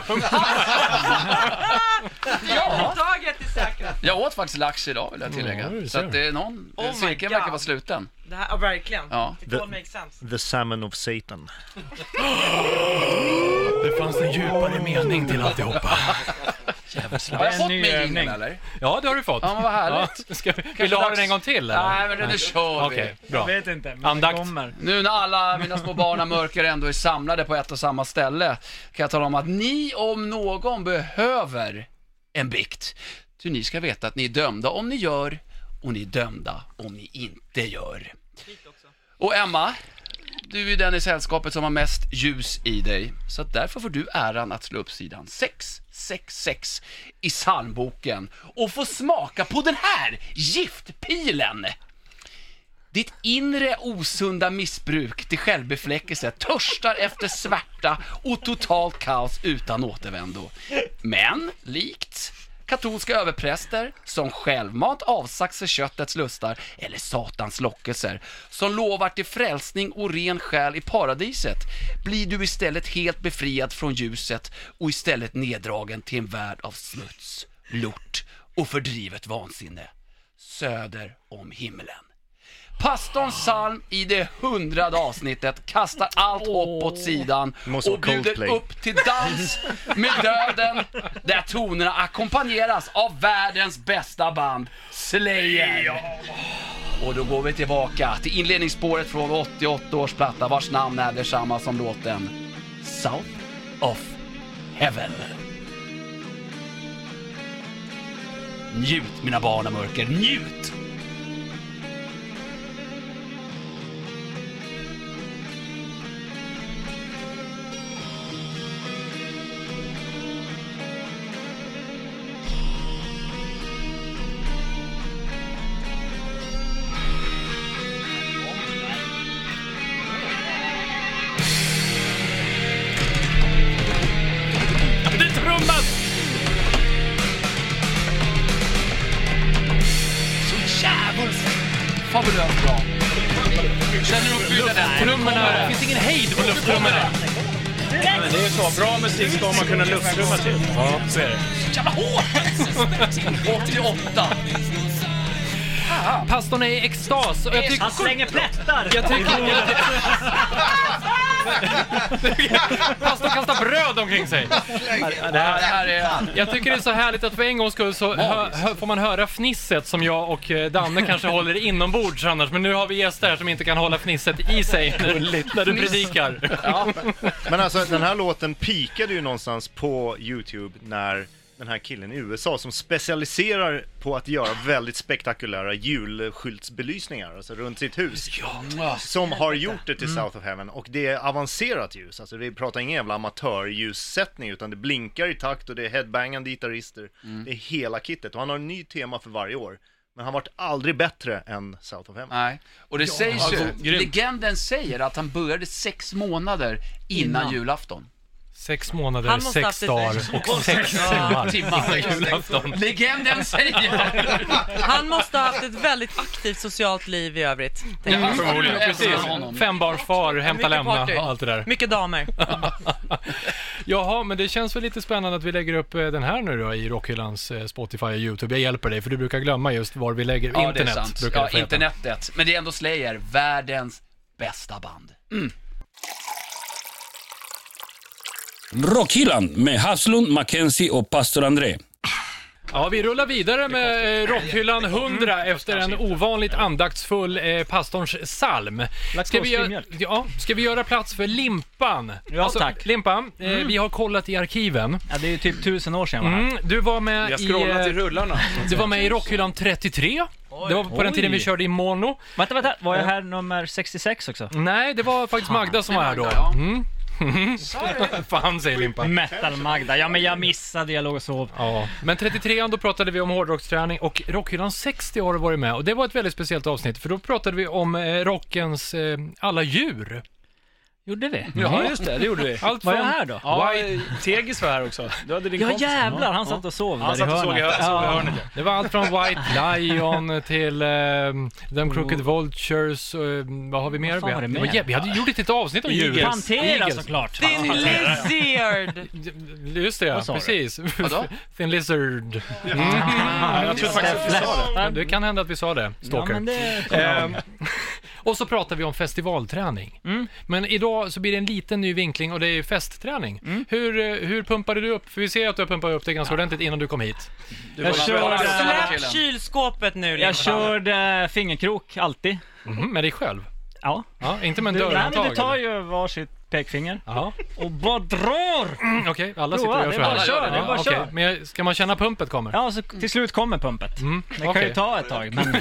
[SPEAKER 5] Ja. Taget är säkert.
[SPEAKER 4] Jag åt faktiskt lax idag vill jag tillägga.
[SPEAKER 2] Ja, det
[SPEAKER 4] så
[SPEAKER 2] ser
[SPEAKER 4] att det är någon,
[SPEAKER 5] Oh my
[SPEAKER 4] cirkeln
[SPEAKER 5] God.
[SPEAKER 4] verkar vara sluten.
[SPEAKER 5] Det här, ja, verkligen.
[SPEAKER 4] Ja.
[SPEAKER 5] It all makes sense.
[SPEAKER 7] The salmon of Satan.
[SPEAKER 2] det fanns en djupare mening till alltihopa.
[SPEAKER 4] Har jag
[SPEAKER 8] En
[SPEAKER 4] fått
[SPEAKER 8] ny
[SPEAKER 4] min jingeln
[SPEAKER 8] övning.
[SPEAKER 4] eller?
[SPEAKER 2] Ja, det har du fått.
[SPEAKER 4] Ja men vad härligt.
[SPEAKER 2] Ja, Ska vi, vill du ha den en gång till eller?
[SPEAKER 4] Nej men nu kör vi.
[SPEAKER 2] Okej, bra.
[SPEAKER 8] Jag vet inte, men
[SPEAKER 2] Andakt.
[SPEAKER 8] det kommer.
[SPEAKER 4] Nu när alla mina små barn har mörker ändå är samlade på ett och samma ställe kan jag tala om att ni om någon behöver en bikt. Ty ni ska veta att ni är dömda om ni gör och ni är dömda om ni inte gör. Och Emma, du är ju den i sällskapet som har mest ljus i dig. Så att därför får du äran att slå upp sidan 666 i psalmboken och få smaka på den här giftpilen. Ditt inre osunda missbruk till självbefläckelse törstar efter svärta och totalt kaos utan återvändo. Men likt katolska överpräster som självmant avsagt sig köttets lustar eller satans lockelser som lovar till frälsning och ren själ i paradiset blir du istället helt befriad från ljuset och istället neddragen till en värld av smuts, lort och fördrivet vansinne söder om himlen. Pastorns psalm i det hundrade avsnittet kastar allt hopp åt sidan
[SPEAKER 7] Måste
[SPEAKER 4] och
[SPEAKER 7] vara
[SPEAKER 4] bjuder
[SPEAKER 7] Coldplay.
[SPEAKER 4] upp till dans med döden där tonerna ackompanjeras av världens bästa band, Slayer. Och då går vi tillbaka till inledningsspåret från 88 års platta vars namn är detsamma som låten South of Heaven. Njut mina barn av mörker, njut!
[SPEAKER 2] Det trummas!
[SPEAKER 4] Så jävligt fabulöst bra. Känner du uppbyggnaden?
[SPEAKER 2] Trummorna, det finns ingen hejd på lufttrummorna.
[SPEAKER 3] Men det är ju så, bra musik ska man kunna lufttrumma till.
[SPEAKER 4] Jävla hårt! 88.
[SPEAKER 2] Pastorn är i extas och jag tycker...
[SPEAKER 8] Han slänger plättar!
[SPEAKER 2] Jag tycker... Pastorn kastar bröd omkring sig.
[SPEAKER 4] Det här, det här är...
[SPEAKER 2] Jag tycker det är så härligt att för en gångs skull så hö, hö, får man höra fnisset som jag och eh, Danne kanske håller inombords annars. Men nu har vi gäster här som inte kan hålla fnisset i sig när, när du predikar.
[SPEAKER 4] Ja.
[SPEAKER 7] Men alltså den här låten pikade ju någonstans på YouTube när den här killen i USA som specialiserar på att göra väldigt spektakulära julskyltsbelysningar, alltså runt sitt hus.
[SPEAKER 4] alltså.
[SPEAKER 7] Som har gjort det till
[SPEAKER 4] Mm.
[SPEAKER 7] South of Heaven och det är avancerat ljus, alltså vi pratar ingen jävla amatörljussättning utan det blinkar i takt och det är headbangande gitarrister,
[SPEAKER 4] Mm.
[SPEAKER 7] det är hela kittet och han har en ny tema för varje år. Men han vart aldrig bättre än South of Heaven.
[SPEAKER 4] Nej. Och det sägs
[SPEAKER 2] alltså,
[SPEAKER 4] ju,
[SPEAKER 2] grymt.
[SPEAKER 4] legenden säger att han började sex månader innan julafton.
[SPEAKER 2] Sex månader,
[SPEAKER 5] Han måste
[SPEAKER 2] sex
[SPEAKER 5] haft ett-
[SPEAKER 2] dagar och sex timmar innan julafton.
[SPEAKER 4] Legenden säger!
[SPEAKER 5] Han måste ha haft ett väldigt aktivt socialt liv i övrigt.
[SPEAKER 4] Mm.
[SPEAKER 2] Förmodligen. Precis. Fembarnsfar, hämta,
[SPEAKER 5] Mycket
[SPEAKER 2] lämna,
[SPEAKER 5] party.
[SPEAKER 2] allt det där.
[SPEAKER 5] Mycket damer.
[SPEAKER 2] Jaha, men det känns väl lite spännande att vi lägger upp eh, den här nu då i Rockhyllans eh, Spotify och YouTube. Jag hjälper dig, för du brukar glömma just var vi lägger
[SPEAKER 4] Ja, det är
[SPEAKER 2] internet.
[SPEAKER 4] sant.
[SPEAKER 2] brukar det
[SPEAKER 4] Ja,
[SPEAKER 2] få heta.
[SPEAKER 4] internetet. Men det är ändå Slayer, världens bästa band.
[SPEAKER 1] Rockhyllan med Havslund, Mackenzie och Pastor André.
[SPEAKER 2] Ja, vi rullar vidare med eh, Rockhyllan 100
[SPEAKER 4] Mm.
[SPEAKER 2] efter en ovanligt andaktsfull eh, pastorns psalm. Ska vi, göra,
[SPEAKER 8] Laktosfrimjölk.
[SPEAKER 2] ja, ska vi göra plats för Limpan? Alltså,
[SPEAKER 8] Ja, tack. Mm.
[SPEAKER 2] Limpan, eh, vi har kollat i arkiven.
[SPEAKER 8] Ja, det är ju typ tusen år sedan jag var här.
[SPEAKER 2] Mm, du var med
[SPEAKER 3] Jag
[SPEAKER 2] i...
[SPEAKER 3] scrollar till
[SPEAKER 2] eh,
[SPEAKER 3] rullarna.
[SPEAKER 2] Du var med i Rockhyllan 33. Det var på den
[SPEAKER 8] Oj.
[SPEAKER 2] tiden vi körde i mono.
[SPEAKER 8] Vänta, vänta, var jag här nummer 66 också? Ah.
[SPEAKER 2] Nej, det var faktiskt Magda som var här då.
[SPEAKER 4] Magda, ja.
[SPEAKER 2] Mm. Fan säger Limpan.
[SPEAKER 8] Metal-Magda, ja men jag missade, jag låg och sov.
[SPEAKER 2] Ja, men 33an då pratade vi om hårdrocksträning och Rockhyllan 60 har varit med och det var ett väldigt speciellt avsnitt för då pratade vi om eh, rockens eh, alla djur.
[SPEAKER 8] Gjorde vi?
[SPEAKER 2] Mm.
[SPEAKER 3] Ja, just det. Det gjorde vi.
[SPEAKER 2] Allt
[SPEAKER 8] Var jag här då?
[SPEAKER 3] Ja, Tegis var här också. Du hade din
[SPEAKER 8] Ja
[SPEAKER 3] kompis.
[SPEAKER 8] jävlar, han satt och sov
[SPEAKER 3] Han
[SPEAKER 8] där
[SPEAKER 3] satt och såg i hö- såg i hörnet. ja.
[SPEAKER 2] Det var allt från White Lion till eh, The Crooked Vultures, och, eh, vad har vi mer?
[SPEAKER 8] Mm. fan
[SPEAKER 2] Vi,
[SPEAKER 8] var det
[SPEAKER 2] det var,
[SPEAKER 8] mer?
[SPEAKER 2] jä- vi hade gjort ett avsnitt om djur.
[SPEAKER 8] Pantera såklart.
[SPEAKER 5] Din lizard!
[SPEAKER 2] Just det, ja,
[SPEAKER 8] sa du?
[SPEAKER 2] precis.
[SPEAKER 4] Vadå?
[SPEAKER 2] Thin Lizard. Mm.
[SPEAKER 3] Ja, jag tror faktiskt att vi sa det.
[SPEAKER 8] Fläftar.
[SPEAKER 2] Det kan hända att vi sa det,
[SPEAKER 8] Ja,
[SPEAKER 2] Stalker.
[SPEAKER 8] men det
[SPEAKER 2] Ehm, och så pratar vi om festivalträning.
[SPEAKER 8] Mm.
[SPEAKER 2] Men idag så blir det en liten ny vinkling och det är festträning.
[SPEAKER 8] Mm.
[SPEAKER 2] Hur, eh, hur pumpade du upp? För vi ser att du har pumpat upp det ganska ordentligt innan du kom hit.
[SPEAKER 3] Du
[SPEAKER 8] Jag
[SPEAKER 3] var-
[SPEAKER 8] körde-
[SPEAKER 5] Släpp kylskåpet nu
[SPEAKER 8] Jag
[SPEAKER 5] Limpan.
[SPEAKER 8] körde fingerkrok, alltid.
[SPEAKER 2] Mhm, med dig själv?
[SPEAKER 8] Ja.
[SPEAKER 2] Ja, inte med en
[SPEAKER 8] Du, nej, men du
[SPEAKER 2] dörrhandtag?
[SPEAKER 8] tar
[SPEAKER 2] eller?
[SPEAKER 8] ju varsitt pekfinger
[SPEAKER 2] Ja,
[SPEAKER 8] och bara drar!
[SPEAKER 2] mm, okej. Alla sitter
[SPEAKER 8] Prova,
[SPEAKER 2] och
[SPEAKER 8] det är
[SPEAKER 2] gör så
[SPEAKER 8] bara
[SPEAKER 2] här.
[SPEAKER 8] att köra, det är bara att
[SPEAKER 2] okej.
[SPEAKER 8] köra.
[SPEAKER 2] Men jag- ska man känna pumpet kommer? Mm,
[SPEAKER 8] Ja, så till slut kommer pumpet. Det kan
[SPEAKER 2] okej.
[SPEAKER 8] ju ta ett tag, men...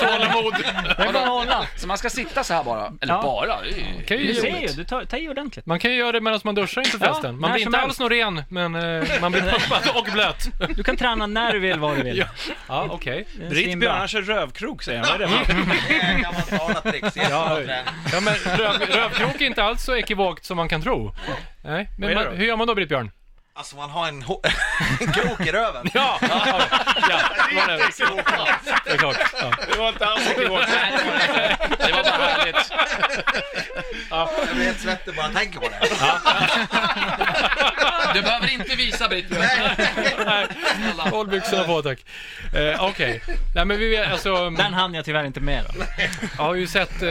[SPEAKER 8] Tålamod! Det är bara att hålla.
[SPEAKER 4] Så man ska sitta så här bara? Eller
[SPEAKER 8] Ja.
[SPEAKER 4] bara? Det är ju-
[SPEAKER 2] Kan ju
[SPEAKER 8] Du
[SPEAKER 2] ge
[SPEAKER 8] ser ju,
[SPEAKER 2] jobbigt.
[SPEAKER 8] du tar, tar i ordentligt.
[SPEAKER 2] Man kan ju göra det medan man duschar inför
[SPEAKER 8] Ja,
[SPEAKER 2] festen. Man
[SPEAKER 8] när
[SPEAKER 2] blir
[SPEAKER 8] som
[SPEAKER 2] inte alls
[SPEAKER 8] helst.
[SPEAKER 2] någon ren, men eh, man blir pumpad och blöt.
[SPEAKER 8] Du kan träna när du vill, var du vill.
[SPEAKER 2] Ja, okej.
[SPEAKER 8] Det är
[SPEAKER 3] Britt
[SPEAKER 8] svinbra.
[SPEAKER 3] Björnar kör rövkrok säger han. Vad är det för något?
[SPEAKER 6] Det kan man ta något tricks.
[SPEAKER 3] Ja,
[SPEAKER 2] Mm. Ja, men röv, rövkrok är inte alls så ekivokt som man kan tro. Nej, men
[SPEAKER 3] Vad är det
[SPEAKER 2] man,
[SPEAKER 3] då?
[SPEAKER 2] hur gör man då, Britt-Björn?
[SPEAKER 6] Alltså man har en, ho- en krok i röven.
[SPEAKER 2] Ja! ja, ja det, det är klart. Ja.
[SPEAKER 3] Det var inte alls ekivokt.
[SPEAKER 4] Det var bara härligt.
[SPEAKER 6] Jag blir helt svettig bara jag tänker på det.
[SPEAKER 4] Du behöver inte visa Britt.
[SPEAKER 2] Håll byxorna på tack. Eh, Okej. Nej men vi vet, alltså,
[SPEAKER 8] Den hann jag tyvärr inte med då.
[SPEAKER 2] jag har ju sett eh,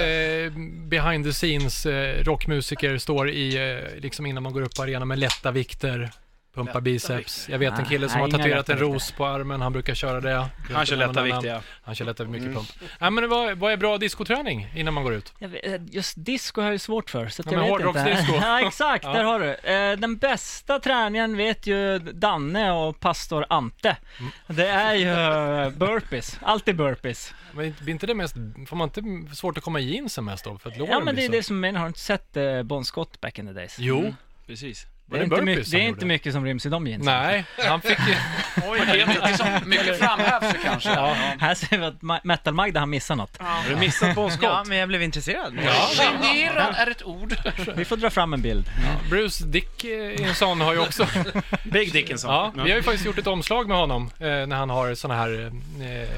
[SPEAKER 2] behind the scenes eh, rockmusiker står i, eh, liksom innan man går upp på arenan med lätta vikter. Pumpa biceps. Jag vet en kille som
[SPEAKER 8] Nej,
[SPEAKER 2] har
[SPEAKER 8] inga
[SPEAKER 2] tatuerat en
[SPEAKER 8] lätta
[SPEAKER 2] ros på armen, han brukar köra det.
[SPEAKER 3] Han kör lätta Mm.
[SPEAKER 2] Annan-
[SPEAKER 3] viktiga.
[SPEAKER 2] Han kör lätta mycket pump. Nej men vad, vad är bra diskoträning innan man går ut?
[SPEAKER 8] Jag vet, eh, just disco har jag ju svårt för, så att
[SPEAKER 2] Ja,
[SPEAKER 8] jag
[SPEAKER 2] men
[SPEAKER 8] vet inte.
[SPEAKER 2] hårdrocksdisco.
[SPEAKER 8] ja, exakt,
[SPEAKER 2] Ja.
[SPEAKER 8] där har du. Eh, Den bästa träningen vet ju Danne och pastor Ante.
[SPEAKER 2] Mm.
[SPEAKER 8] Det är ju eh, burpees, alltid burpees.
[SPEAKER 2] Men blir inte det mest, får man inte svårt att komma i jeansen mest då? För att låren
[SPEAKER 8] Ja men det
[SPEAKER 2] blir
[SPEAKER 8] är
[SPEAKER 2] så-
[SPEAKER 8] det som jag menar, har du inte sett eh, Bon Scott back in the days? Mm.
[SPEAKER 2] Jo,
[SPEAKER 3] Precis.
[SPEAKER 8] Det
[SPEAKER 2] det
[SPEAKER 8] är, inte,
[SPEAKER 2] burpees
[SPEAKER 8] mycket, det
[SPEAKER 2] han
[SPEAKER 8] är inte
[SPEAKER 2] gjorde?
[SPEAKER 8] mycket som ryms i de jeansen.
[SPEAKER 2] nej, han fick ju...
[SPEAKER 4] liksom Mycket framhävs kanske.
[SPEAKER 8] Här ser vi att Ma- Metal-Magda har missat något.
[SPEAKER 3] Har du missat Bon
[SPEAKER 5] Ja,
[SPEAKER 3] Scott?
[SPEAKER 5] men jag blev intresserad.
[SPEAKER 4] Generad är ett ord.
[SPEAKER 8] Vi får dra fram en bild.
[SPEAKER 2] Bruce Dickinson har ju också...
[SPEAKER 3] Big Dickinson.
[SPEAKER 2] Ja, vi har ju faktiskt gjort ett omslag med honom eh, när han har såna här...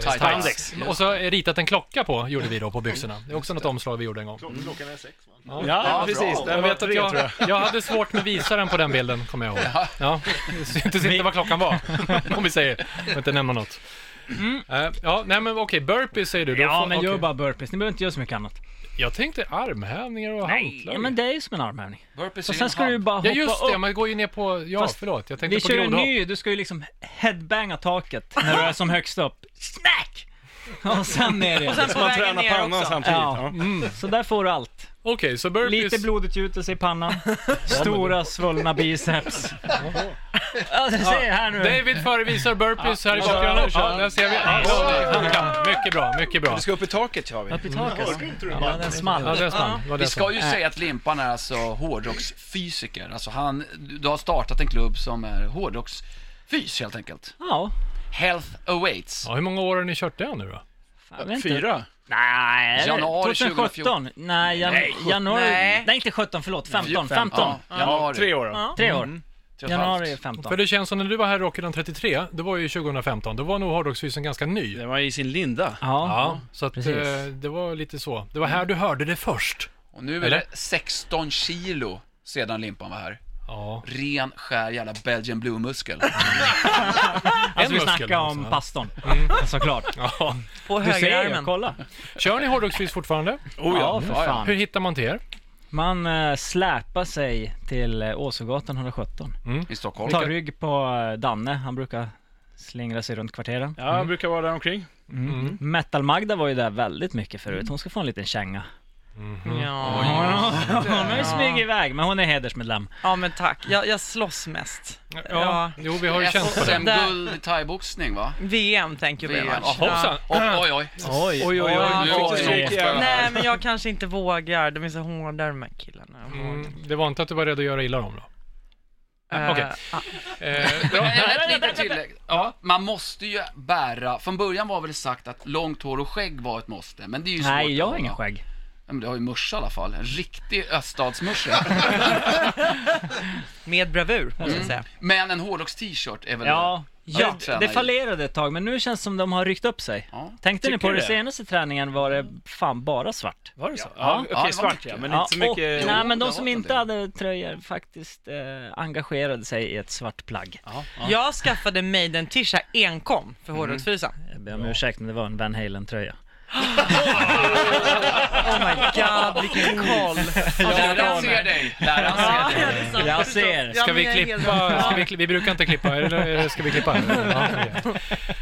[SPEAKER 2] Eh,
[SPEAKER 4] Spandex.
[SPEAKER 2] Och så ritat en klocka på, gjorde vi då, på byxorna. Det är också något omslag vi gjorde en gång.
[SPEAKER 7] Klockan är sex va?
[SPEAKER 3] Ja, ja precis. Det
[SPEAKER 2] Jag
[SPEAKER 3] var
[SPEAKER 2] vet att
[SPEAKER 3] tre tror jag.
[SPEAKER 2] jag, jag hade svårt med visaren på den bilden, kommer jag ihåg. Ja, det syntes inte vad klockan var, om vi säger. Jag inte nämna något. Eh, ja, nej men okej, burpees säger du. Då
[SPEAKER 8] Ja
[SPEAKER 2] får-
[SPEAKER 8] men gör
[SPEAKER 2] okej.
[SPEAKER 8] bara burpees, ni behöver inte göra så mycket annat.
[SPEAKER 2] Jag tänkte armhävningar och hantlar.
[SPEAKER 8] Ja men det är ju som en armhävning.
[SPEAKER 4] Burpees
[SPEAKER 8] Och
[SPEAKER 4] är
[SPEAKER 8] sen ska du ju
[SPEAKER 4] en hand.
[SPEAKER 8] bara hoppa
[SPEAKER 2] Ja just det,
[SPEAKER 8] upp.
[SPEAKER 2] man går ju ner på, ja
[SPEAKER 8] Fast
[SPEAKER 2] förlåt, jag tänkte
[SPEAKER 8] Vi
[SPEAKER 2] på
[SPEAKER 8] kör en
[SPEAKER 2] grodhopp.
[SPEAKER 8] ny, du ska ju liksom headbanga taket när du är som högst upp. Snack! Och sen ner igen.
[SPEAKER 5] Och sen på
[SPEAKER 3] Man
[SPEAKER 5] vägen
[SPEAKER 3] tränar
[SPEAKER 5] ner
[SPEAKER 3] pannan
[SPEAKER 5] också.
[SPEAKER 3] samtidigt.
[SPEAKER 8] Ja. Mm.
[SPEAKER 3] Ja.
[SPEAKER 8] Så där får du allt.
[SPEAKER 2] Mm. Okej, så burpees.
[SPEAKER 8] Lite blodutgjutelse i pannan, stora svullna biceps. Ja, se här nu.
[SPEAKER 2] David förevisar burpees här i
[SPEAKER 3] kör,
[SPEAKER 2] bakgrunden.
[SPEAKER 3] nu kör
[SPEAKER 2] Ja,
[SPEAKER 3] han.
[SPEAKER 2] där ser vi. Ja, ja, handklapp. Mycket bra, mycket bra.
[SPEAKER 3] Du ska upp i taket har vi. Mm.
[SPEAKER 8] Upp i taket. Ja, men den
[SPEAKER 2] Ja,
[SPEAKER 8] small.
[SPEAKER 2] det small. Det var det
[SPEAKER 4] Vi ska
[SPEAKER 2] small.
[SPEAKER 4] ju säga att Limpan är alltså hårdrocksfysiker. Alltså han, du har startat en klubb som är hårdrocksfys helt enkelt.
[SPEAKER 8] Ja.
[SPEAKER 4] Health awaits.
[SPEAKER 2] Ja, hur många år har ni kört det nu då?
[SPEAKER 8] Fan, jag vet inte.
[SPEAKER 3] Fyra.
[SPEAKER 8] Nej,
[SPEAKER 4] Januari
[SPEAKER 8] 2017. Nej, jan-
[SPEAKER 4] Nej, sjutton.
[SPEAKER 8] januari.
[SPEAKER 5] Nej.
[SPEAKER 8] Nej, inte 17, förlåt. 15.
[SPEAKER 4] Fem-
[SPEAKER 8] 15.
[SPEAKER 4] Ja, januari.
[SPEAKER 3] Tre år då.
[SPEAKER 5] Ja.
[SPEAKER 8] Tre år.
[SPEAKER 4] Tre och ett halvt.
[SPEAKER 8] Januari är 15.
[SPEAKER 2] För det känns som när du var här i Rockyland 33, det var ju 2015, då var nog hårdrocksfysen ganska ny.
[SPEAKER 3] Den var i sin linda.
[SPEAKER 8] Ja.
[SPEAKER 2] Ja, så att
[SPEAKER 8] Precis.
[SPEAKER 2] eh, det var lite så. Det var här du hörde det först.
[SPEAKER 4] Och nu är
[SPEAKER 2] Eller?
[SPEAKER 4] det 16 kilo sedan Limpan var här.
[SPEAKER 2] Ja.
[SPEAKER 4] Ren, skär jävla Belgian blue-muskel.
[SPEAKER 8] Alltså vi
[SPEAKER 2] muskel,
[SPEAKER 8] snackar om
[SPEAKER 2] alltså.
[SPEAKER 8] pastorn.
[SPEAKER 3] Mm.
[SPEAKER 8] Såklart.
[SPEAKER 2] Ja.
[SPEAKER 5] På
[SPEAKER 8] Du ser ju,
[SPEAKER 5] högerarmen.
[SPEAKER 8] kolla. Oh,
[SPEAKER 2] Kör ni hårdrocksvis fortfarande?
[SPEAKER 8] ja, för fan.
[SPEAKER 2] Hur hittar man till er?
[SPEAKER 8] Man eh, släpar sig till eh, Åsögatan 117.
[SPEAKER 3] Mm.
[SPEAKER 4] I Stockholm.
[SPEAKER 8] Tar rygg på eh, Danne, han brukar slingra sig runt kvarteren. Mm.
[SPEAKER 3] Ja, Mm. jag brukar vara där omkring.
[SPEAKER 8] Metal-Magda var ju där väldigt mycket förut, hon ska få en liten känga.
[SPEAKER 3] Mhm.
[SPEAKER 5] Ja.
[SPEAKER 8] Hon har ju smugit iväg, men hon är hedersmedlem.
[SPEAKER 5] ja, men tack. Jag, jag slåss mest. Ja.
[SPEAKER 2] Jo, vi har ju känt på det.
[SPEAKER 4] SM-guld i thaiboxning va?
[SPEAKER 5] VM tänker du
[SPEAKER 4] VM.
[SPEAKER 5] på.
[SPEAKER 4] Ja.
[SPEAKER 2] Hoppsan!
[SPEAKER 4] Oj, oj, oj.
[SPEAKER 8] Oj,
[SPEAKER 2] Oj, oj,
[SPEAKER 5] Ja,
[SPEAKER 2] oj.
[SPEAKER 4] Nu fick du
[SPEAKER 8] oj.
[SPEAKER 4] stryk.
[SPEAKER 5] Nej, men jag kanske inte vågar. De är så hårdare med killarna.
[SPEAKER 2] Mm, det var inte att du var rädd att göra illa dem då?
[SPEAKER 5] Eh,
[SPEAKER 2] okej.
[SPEAKER 5] ja.
[SPEAKER 8] ah.
[SPEAKER 2] Eh,
[SPEAKER 4] Ja, ett litet tillägg. Ja, man måste ju bära, från början var väl sagt att långt hår och skägg var ett måste, men det är ju svårt
[SPEAKER 8] Nej, jag
[SPEAKER 4] att
[SPEAKER 8] har ingen
[SPEAKER 4] hålla.
[SPEAKER 8] skägg.
[SPEAKER 4] Ja, Men du har ju mörsa i alla fall, en riktig öststatsmörsa.
[SPEAKER 5] Med bravur, måste jag säga.
[SPEAKER 4] Mm. men en hårdrocks-t-shirt är väl...
[SPEAKER 8] Ja,
[SPEAKER 4] Ja,
[SPEAKER 8] ja
[SPEAKER 4] tränar
[SPEAKER 8] det
[SPEAKER 4] ju.
[SPEAKER 8] fallerade ett tag, men nu känns det som de har ryckt upp sig.
[SPEAKER 4] Ja,
[SPEAKER 8] Tänkte ni
[SPEAKER 3] tycker
[SPEAKER 8] på det?
[SPEAKER 3] det?
[SPEAKER 8] senaste träningen var det fan bara svart.
[SPEAKER 3] Var det så? Ja, okej,
[SPEAKER 4] Ja, det var
[SPEAKER 3] svart
[SPEAKER 4] mycket.
[SPEAKER 3] ja, men
[SPEAKER 8] Ja,
[SPEAKER 3] inte så mycket...
[SPEAKER 8] och, nej, men de
[SPEAKER 4] det
[SPEAKER 8] som
[SPEAKER 4] var en
[SPEAKER 8] inte
[SPEAKER 4] del.
[SPEAKER 8] hade tröjor faktiskt eh, engagerade sig i ett svart plagg. Mm.
[SPEAKER 4] Ja,
[SPEAKER 5] Jag skaffade Maiden-tisha enkom för hårdrocksfysan.
[SPEAKER 8] Jag ber om ursäkt, men det var en Van Halen-tröja.
[SPEAKER 5] Oh my god, vilken koll!
[SPEAKER 4] ja. Läraren ser dig, läraren ser dig.
[SPEAKER 8] Jag ser.
[SPEAKER 2] Ska vi klippa? Ska vi, kli- vi brukar inte klippa, eller eller ska vi klippa? Ja, okej.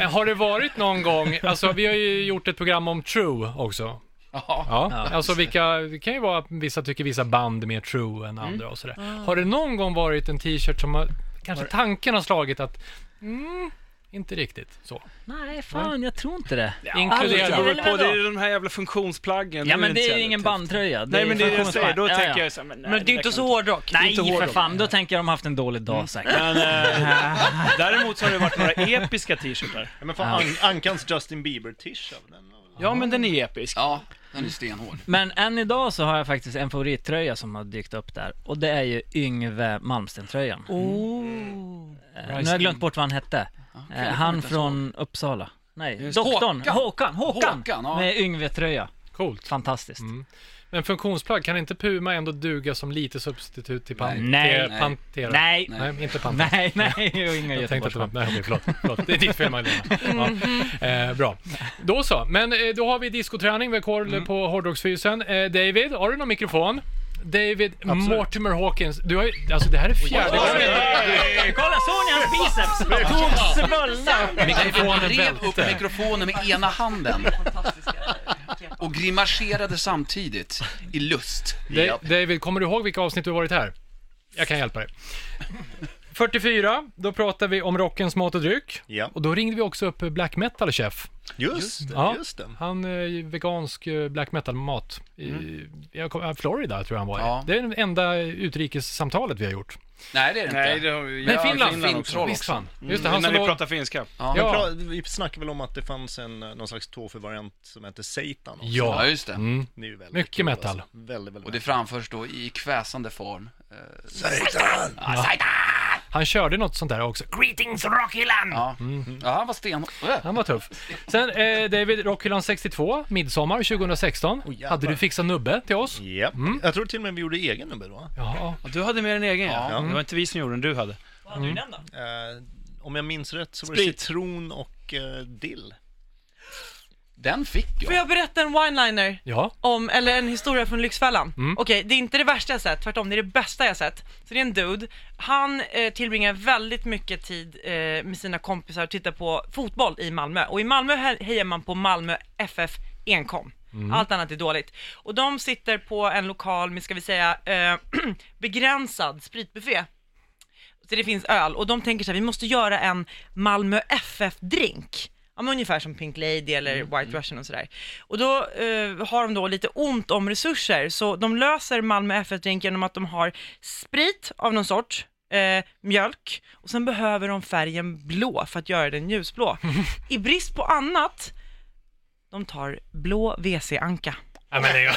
[SPEAKER 2] Eh, Har det varit någon gång, alltså vi har ju gjort ett program om True också.
[SPEAKER 4] Ja.
[SPEAKER 2] Ja, alltså vilka, det kan ju vara att vissa tycker vissa band mer True än
[SPEAKER 8] Mm.
[SPEAKER 2] andra och sådär.
[SPEAKER 8] Ah.
[SPEAKER 2] Har det någon gång varit en t-shirt som har, kanske tanken har slagit att, mm, inte riktigt så.
[SPEAKER 8] Nej, fan jag tror inte det.
[SPEAKER 2] Ah, Inkluderar
[SPEAKER 8] Alltså,
[SPEAKER 3] Det
[SPEAKER 2] du
[SPEAKER 3] beror
[SPEAKER 8] Eller
[SPEAKER 3] på, det är
[SPEAKER 8] vadå?
[SPEAKER 3] ju de här jävla funktionsplaggen.
[SPEAKER 8] Ja men det är ju
[SPEAKER 3] inte
[SPEAKER 8] ingen
[SPEAKER 3] så
[SPEAKER 8] bandtröja.
[SPEAKER 3] jävla- Nej men det är det jag
[SPEAKER 8] funktionsplagg.
[SPEAKER 3] säger, då
[SPEAKER 8] Ja,
[SPEAKER 3] tänker
[SPEAKER 8] ja.
[SPEAKER 3] jag så här, men nej,
[SPEAKER 5] Men det är inte så hårdrock.
[SPEAKER 8] Nej för
[SPEAKER 3] hårdrock. Mm.
[SPEAKER 8] fan, då tänker jag de har haft en dålig dag säkert.
[SPEAKER 3] Men, eh, däremot så har det varit några episka t-shirtar.
[SPEAKER 7] Ja, men fan, An- Ankans Justin Bieber-tisha. den var väl-
[SPEAKER 3] Ja, men den är episk.
[SPEAKER 4] ja, den är stenhård.
[SPEAKER 8] Men än idag så har jag faktiskt en favorittröja som har dykt upp där och det är ju Yngve Malmsten-tröjan.
[SPEAKER 5] Oh.
[SPEAKER 8] Eh, nu har jag glömt bort vad han hette. Eh, han från Uppsala. Nej, doktorn.
[SPEAKER 4] Håkan.
[SPEAKER 8] Håkan. Håkan.
[SPEAKER 4] Håkan, ja.
[SPEAKER 8] Med Yngve-tröja.
[SPEAKER 2] Coolt. Mm.
[SPEAKER 8] Fantastiskt.
[SPEAKER 2] Men funktionsplagg, kan inte Puma ändå duga som lite substitut till Pantera?
[SPEAKER 8] Nej.
[SPEAKER 4] Nej.
[SPEAKER 2] Pantera?
[SPEAKER 8] Nej.
[SPEAKER 2] Nej, inte Pantera.
[SPEAKER 8] Nej, nej, och inga
[SPEAKER 2] Jag tänkte att det var...
[SPEAKER 8] Göteborgsband.
[SPEAKER 2] Nej, okej, förlåt, förlåt. Det är ditt fel, Magdalena. Ja.
[SPEAKER 8] Mm-hmm.
[SPEAKER 2] Eh, bra. Då så. Men eh, då har vi diskoträning med koll
[SPEAKER 8] Mm.
[SPEAKER 2] på hårdrocksfysen. Eh, David, har du någon mikrofon? David Mortimer Hawkins. Du har ju, Alltså det här är fjärde gången.
[SPEAKER 8] Kolla, såg ni hans biceps? Tog svullna.
[SPEAKER 4] Mikrofonen
[SPEAKER 2] Mikrofonen
[SPEAKER 4] rev upp
[SPEAKER 2] välte.
[SPEAKER 4] mikrofonen med ena handen och grimaserade samtidigt i lust.
[SPEAKER 2] Da- David, kommer du ihåg vilka avsnitt du har varit här? Jag kan hjälpa dig. 44, då pratar vi om rockens mat och dryck.
[SPEAKER 7] Ja,
[SPEAKER 2] Och då ringde vi också upp Black Metal Chef.
[SPEAKER 7] just det.
[SPEAKER 2] Ja.
[SPEAKER 7] Just det.
[SPEAKER 2] Han är vegansk eh, black metal-mat. I,
[SPEAKER 7] Mm.
[SPEAKER 2] jag kom, eh, Florida tror jag han var
[SPEAKER 4] Ja.
[SPEAKER 2] i. Det är det enda utrikessamtalet vi har gjort.
[SPEAKER 4] Nej, det är det inte.
[SPEAKER 3] Nej, det har vi...
[SPEAKER 2] Nej,
[SPEAKER 3] ja,
[SPEAKER 2] Finland.
[SPEAKER 4] Fintroll också.
[SPEAKER 2] Visst fan. Just det,
[SPEAKER 3] Mm,
[SPEAKER 2] han
[SPEAKER 3] när
[SPEAKER 2] som
[SPEAKER 3] vi
[SPEAKER 2] låg-
[SPEAKER 3] pratar finska.
[SPEAKER 4] Ja.
[SPEAKER 7] Men
[SPEAKER 2] Ja.
[SPEAKER 7] pra- Vi snackade väl om att det fanns en, eh, någon slags tofu-variant som hette Satan också.
[SPEAKER 2] Ja.
[SPEAKER 4] ja, just det.
[SPEAKER 2] Mm.
[SPEAKER 7] Det är ju väldigt
[SPEAKER 2] Mycket
[SPEAKER 7] kul,
[SPEAKER 2] metal.
[SPEAKER 7] alltså. Väldigt, väldigt
[SPEAKER 4] Och det framförs då i kväsande form. Eh,
[SPEAKER 7] Satan!
[SPEAKER 4] ah, sajda!
[SPEAKER 2] Han körde något sånt där också. Greetings Rockyland!
[SPEAKER 4] Ja. ja, han var sten... Äh.
[SPEAKER 2] Han var tuff. Sen eh, David Rockyland 62, midsommar 2016.
[SPEAKER 7] jävlar.
[SPEAKER 2] Hade du fixat nubbe till oss? Mm.
[SPEAKER 7] Japp. Jag tror till och med vi gjorde egen nummer då.
[SPEAKER 2] Ja.
[SPEAKER 3] Ja, Du hade med en egen ja.
[SPEAKER 7] Ja.
[SPEAKER 3] Det var inte vi som gjorde den, du hade.
[SPEAKER 5] Vad hade du
[SPEAKER 2] Mm.
[SPEAKER 5] den då?
[SPEAKER 7] Eh, om jag minns rätt så var det
[SPEAKER 3] Sprit.
[SPEAKER 7] citron och eh, dill.
[SPEAKER 4] Den fick
[SPEAKER 5] Får
[SPEAKER 4] jag.
[SPEAKER 5] jag berätta en one-liner?
[SPEAKER 2] Ja.
[SPEAKER 5] om, eller en historia från Lyxfällan. Okej, det är inte det värsta jag sett, tvärtom, det är det bästa jag sett. Så det är en dude, han eh, tillbringar väldigt mycket tid eh, med sina kompisar och tittar på fotboll i Malmö. Och i Malmö he- hejar man på Malmö FF enkom. Allt annat är dåligt. Och de sitter på en lokal med, ska vi säga, eh, begränsad spritbuffé. Så det finns öl och de tänker så här, vi måste göra en Malmö FF-drink. Ja, men ungefär som Pink Lady eller White Russian och sådär. Och då eh, har de då lite ont om resurser, så de löser Malmö FF-drink genom att de har sprit av någon sort, eh, mjölk, och sen behöver de färgen blå för att göra den ljusblå. I brist på annat, de tar blå WC-anka.
[SPEAKER 2] ja men det är...